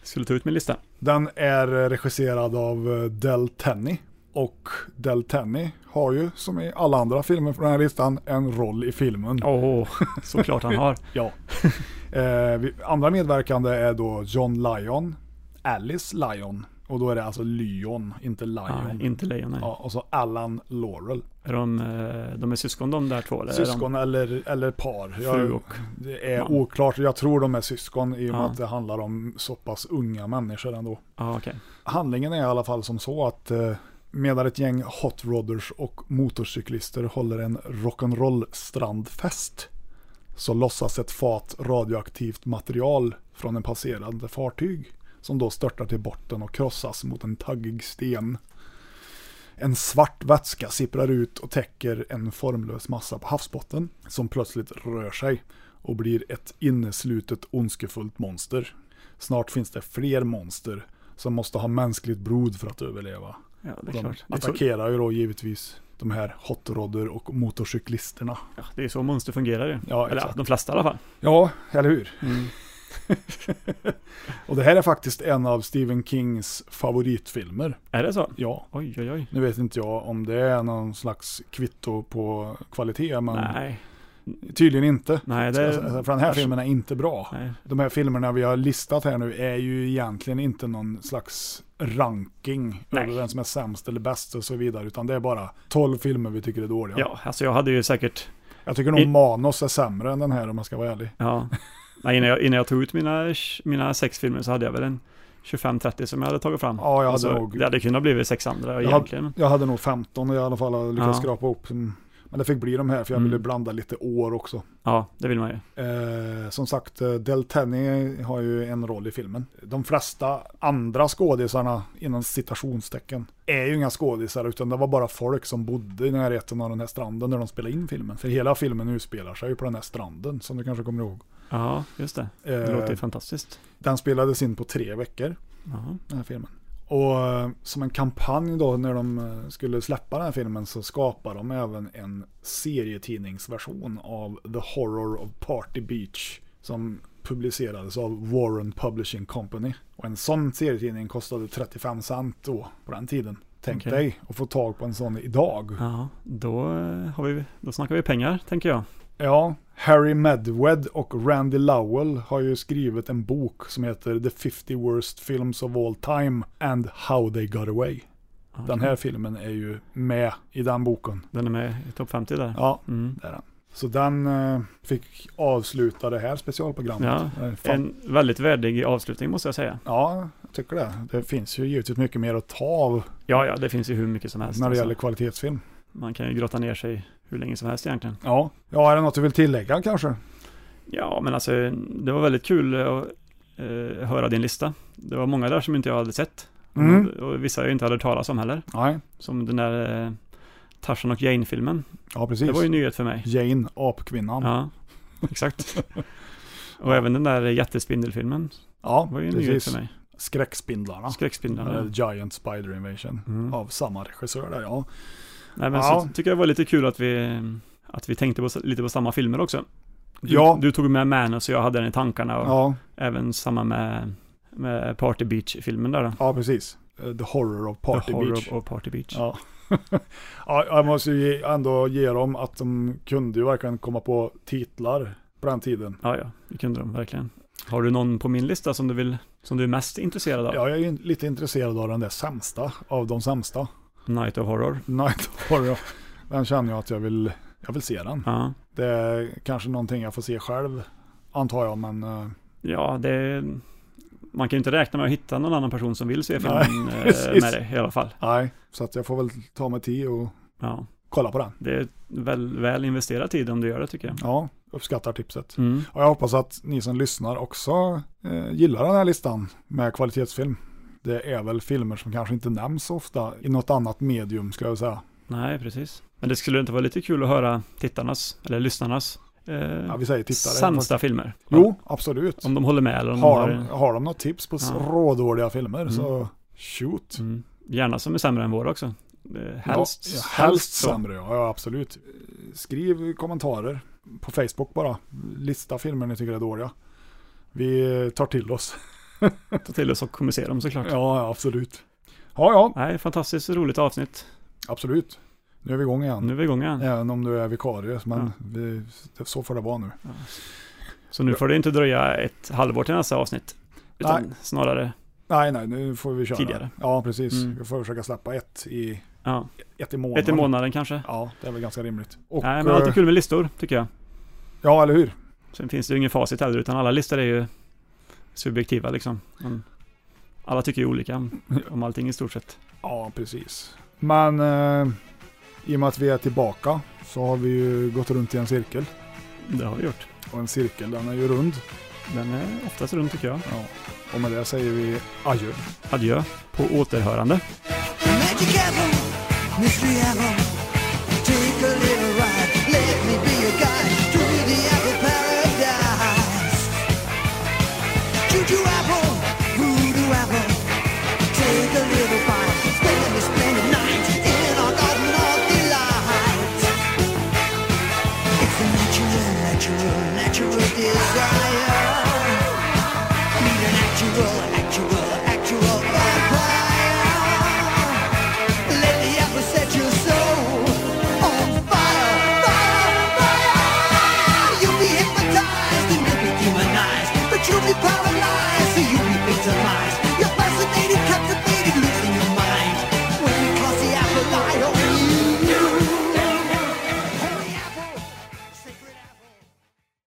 Speaker 4: skulle ta ut min lista.
Speaker 3: Den är eh, regisserad av eh, Del Tenney. Och Del Tenney har ju, som i alla andra filmer från den här listan, en roll i filmen.
Speaker 4: Åh, såklart han har.
Speaker 3: ja. Eh, vi- andra medverkande är då John Lyon, Alice Lyon. Och då är det alltså Lyon, inte Lion.
Speaker 4: Nej, inte lejon, nej.
Speaker 3: Ja, och så Alan Laurel.
Speaker 4: Är de, eh, de är syskon de där två? Eller
Speaker 3: Syskon eller, eller par.
Speaker 4: Fru och
Speaker 3: det är
Speaker 4: man.
Speaker 3: oklart. Jag tror de är syskon i och med
Speaker 4: Ja.
Speaker 3: att det handlar om så pass unga människor ändå.
Speaker 4: Ja, ah, okej.
Speaker 3: Handlingen är i alla fall som så att eh, medan ett gäng hot rodders och motorcyklister håller en rock'n'roll strandfest så lossas ett fat radioaktivt material från en passerande fartyg som då störtar till botten och krossas mot en taggig sten. En svart vätska sipprar ut och täcker en formlös massa på havsbotten som plötsligt rör sig och blir ett inneslutet ondskefullt monster. Snart finns det fler monster som måste ha mänskligt blod för att överleva.
Speaker 4: Ja, det är
Speaker 3: de
Speaker 4: klart. Det är så-
Speaker 3: attackerar ju då givetvis de här hotrodder och motorcyklisterna.
Speaker 4: Ja, det är så monster fungerar ju.
Speaker 3: Ja,
Speaker 4: eller
Speaker 3: exakt.
Speaker 4: de flesta i alla fall.
Speaker 3: Ja, eller hur?
Speaker 4: Mm.
Speaker 3: och det här är faktiskt en av Stephen Kings favoritfilmer.
Speaker 4: Är det så?
Speaker 3: Ja.
Speaker 4: Oj, oj, oj.
Speaker 3: Nu vet inte jag om det är någon slags kvitto på kvalitet, men
Speaker 4: Nej.
Speaker 3: tydligen inte.
Speaker 4: Nej,
Speaker 3: Ska
Speaker 4: det-
Speaker 3: jag säga. För den här filmen är inte bra.
Speaker 4: Nej.
Speaker 3: De här filmerna vi har listat här nu är ju egentligen inte någon slags ranking
Speaker 4: Nej.
Speaker 3: över vem som är sämst eller bäst och så vidare, utan det är bara 12 filmer vi tycker är dåliga.
Speaker 4: Ja, alltså jag hade ju säkert...
Speaker 3: Jag tycker nog
Speaker 4: I-
Speaker 3: Manos är sämre än den här om man ska vara ärlig.
Speaker 4: Ja. Nej, innan, jag, innan jag tog ut mina, mina sex filmer så hade jag väl en 25-30 som jag hade tagit fram.
Speaker 3: Ja, jag hade
Speaker 4: alltså,
Speaker 3: nog-
Speaker 4: Det hade kunnat blivit sex andra
Speaker 3: Jag
Speaker 4: egentligen.
Speaker 3: hade, jag hade nog 15 och jag i alla fall hade lyckats
Speaker 4: Ja. Mm.
Speaker 3: skrapa ihop. som- Men det fick bli de här för jag ville blanda lite år också.
Speaker 4: Ja, det vill man ju.
Speaker 3: Eh, som sagt, eh, Del Tenney har ju en roll i filmen. De flesta andra skådisarna, inom citationstecken, är ju inga skådisar utan det var bara folk som bodde i närheten av den här stranden när de spelade in filmen. För hela filmen utspelar sig ju på den här stranden som du kanske kommer ihåg.
Speaker 4: Ja, just det. Det
Speaker 3: Eh,
Speaker 4: låter ju fantastiskt.
Speaker 3: Den spelades in på tre veckor,
Speaker 4: Ja.
Speaker 3: den här filmen. Och eh, som en kampanj då när de eh, skulle släppa den här filmen så skapade de även en serietidningsversion av The Horror of Party Beach som publicerades av Warren Publishing Company. Och en sån serietidning kostade 35 cent då, på den tiden. Tänk
Speaker 4: Okej.
Speaker 3: dig att få tag på en sån idag.
Speaker 4: ja, då, eh, har vi, då snackar vi pengar, tänker jag.
Speaker 3: Ja, Harry Medwed och Randy Lowell har ju skrivit en bok som heter The 50 Worst Films of All Time and How They Got Away. Den här filmen är ju med i den boken.
Speaker 4: Den är med i topp 50 där.
Speaker 3: Ja,
Speaker 4: Mm.
Speaker 3: det är den. Så den eh, fick avsluta det här specialprogrammet.
Speaker 4: Ja,
Speaker 3: Eh, fan-
Speaker 4: en väldigt värdig avslutning måste jag säga.
Speaker 3: ja, jag tycker det. Det finns ju givetvis mycket mer att ta av
Speaker 4: Ja, ja, det finns ju hur mycket som helst.
Speaker 3: när det
Speaker 4: alltså.
Speaker 3: gäller kvalitetsfilm.
Speaker 4: Man kan ju grotta ner sig hur länge som helst egentligen.
Speaker 3: Ja. ja, är det något du vill tillägga kanske?
Speaker 4: Ja, men alltså det var väldigt kul att eh, höra din lista. Det var många där som inte jag hade sett.
Speaker 3: Mm.
Speaker 4: Och vissa jag inte hade hört talas om heller.
Speaker 3: Nej,
Speaker 4: Som den där eh, Tarzan och Jane-filmen.
Speaker 3: ja precis.
Speaker 4: Det var ju en nyhet för mig.
Speaker 3: Jane, apkvinnan.
Speaker 4: Ja, exakt. Och även den där jättespindelfilmen.
Speaker 3: Ja,
Speaker 4: Det var ju en nyhet
Speaker 3: precis.
Speaker 4: för mig.
Speaker 3: Skräckspindlarna.
Speaker 4: Skräckspindlarna.
Speaker 3: Eller Giant Spider Invasion.
Speaker 4: Mm.
Speaker 3: Av samma regissör där, ja.
Speaker 4: Nej, men
Speaker 3: Ja.
Speaker 4: så tycker jag det var lite kul att vi, att vi tänkte på, lite på samma filmer också. Du,
Speaker 3: Ja.
Speaker 4: du tog med Manus och jag hade den i tankarna och
Speaker 3: Ja,
Speaker 4: även samma med, med Party Beach-filmen där då.
Speaker 3: ja precis. Eh, The Horror of Party
Speaker 4: The Horror
Speaker 3: Beach.
Speaker 4: of Party Beach.
Speaker 3: Ja. ja, jag måste ju ge- ändå ge dem att de kunde ju verkligen komma på titlar på den tiden.
Speaker 4: Ja, ja, det kunde de verkligen. Har du någon på min lista som du, vill, som du är mest intresserad av?
Speaker 3: Ja, jag är ju lite intresserad av den där sämsta av de sämsta.
Speaker 4: Night of Horror.
Speaker 3: Night of Horror. Den känner jag att jag vill, jag vill se den.
Speaker 4: Ja.
Speaker 3: Det är kanske någonting jag får se själv, antar jag, men eh,
Speaker 4: Ja, det... Man kan ju inte räkna med att hitta någon annan person som vill se
Speaker 3: Nej,
Speaker 4: filmen eh,
Speaker 3: precis.
Speaker 4: med dig i alla fall.
Speaker 3: nej. Så att jag får väl ta mig tid och
Speaker 4: Ja.
Speaker 3: kolla på den.
Speaker 4: Det är väl, väl investerad tid om du gör det tycker jag.
Speaker 3: Ja, uppskattar tipset.
Speaker 4: Mm.
Speaker 3: Och jag hoppas att ni som lyssnar också eh, gillar den här listan med kvalitetsfilm. Det är väl filmer som kanske inte nämns så ofta i något annat medium skulle jag säga.
Speaker 4: Nej, precis. Men det skulle inte vara lite kul att höra tittarnas, eller lyssnarnas, eh,
Speaker 3: Ja, vi säger tittare.
Speaker 4: sämsta filmer?
Speaker 3: Jo, absolut.
Speaker 4: Om de håller med eller om
Speaker 3: Har
Speaker 4: de
Speaker 3: de,
Speaker 4: har...
Speaker 3: har de något tips på
Speaker 4: Ja.
Speaker 3: rådåliga filmer så shoot.
Speaker 4: Mm. Gärna som är sämre än våra också. Eh, Helst,
Speaker 3: ja, helst,
Speaker 4: så.
Speaker 3: sämre, ja, ja absolut. Skriv kommentarer på Facebook bara. Lista filmer ni tycker är dåliga. Vi tar till oss.
Speaker 4: Ta till oss och kommunicera dem såklart.
Speaker 3: Ja, ja, absolut. Ja, ja,
Speaker 4: Nej, fantastiskt roligt avsnitt.
Speaker 3: absolut. Nu är vi igång igen.
Speaker 4: Nu är vi igång igen.
Speaker 3: Även om du är vikarie, men
Speaker 4: Ja.
Speaker 3: vi, det- så får det vara nu.
Speaker 4: Så nu får det inte dröja ett halvår till nästa avsnitt. Utan snarare,
Speaker 3: Nej, nej, nu får vi köra.
Speaker 4: Tidigare.
Speaker 3: Ja, precis.
Speaker 4: Mm.
Speaker 3: Vi får försöka släppa ett i,
Speaker 4: ja,
Speaker 3: ett i månaden.
Speaker 4: ett i månaden kanske.
Speaker 3: Ja, det är väl ganska rimligt. Och,
Speaker 4: Nej, men alltid
Speaker 3: eh,
Speaker 4: kul med listor, tycker jag.
Speaker 3: Ja, eller hur?
Speaker 4: Sen finns det ju ingen facit heller, utan alla listor är ju subjektiva liksom. Men alla tycker ju olika om allting i stort sett.
Speaker 3: Ja, precis. Men eh, i och med att vi är tillbaka så har vi ju gått runt i en cirkel.
Speaker 4: Det har vi gjort.
Speaker 3: Och en cirkel, den är ju rund.
Speaker 4: Den är oftast rund tycker jag.
Speaker 3: Ja. Och med det säger vi adjö.
Speaker 4: Adjö, på återhörande.
Speaker 15: Magic apple, mystery apple. Take a little ride. Let me be your guide to the apple paradise. Juju apple, voodoo apple. Take a little bite. Spend a splendid night in our garden of delight. It's a natural, natural, natural desire. Meet an actual, actual, actual vampire. Let the apple set your soul on fire, fire, fire. You'll be hypnotized and you'll be demonized, but you'll be paralyzed, so you'll be victimized. You're fascinated, captivated, losing your mind. When you cross the apple, I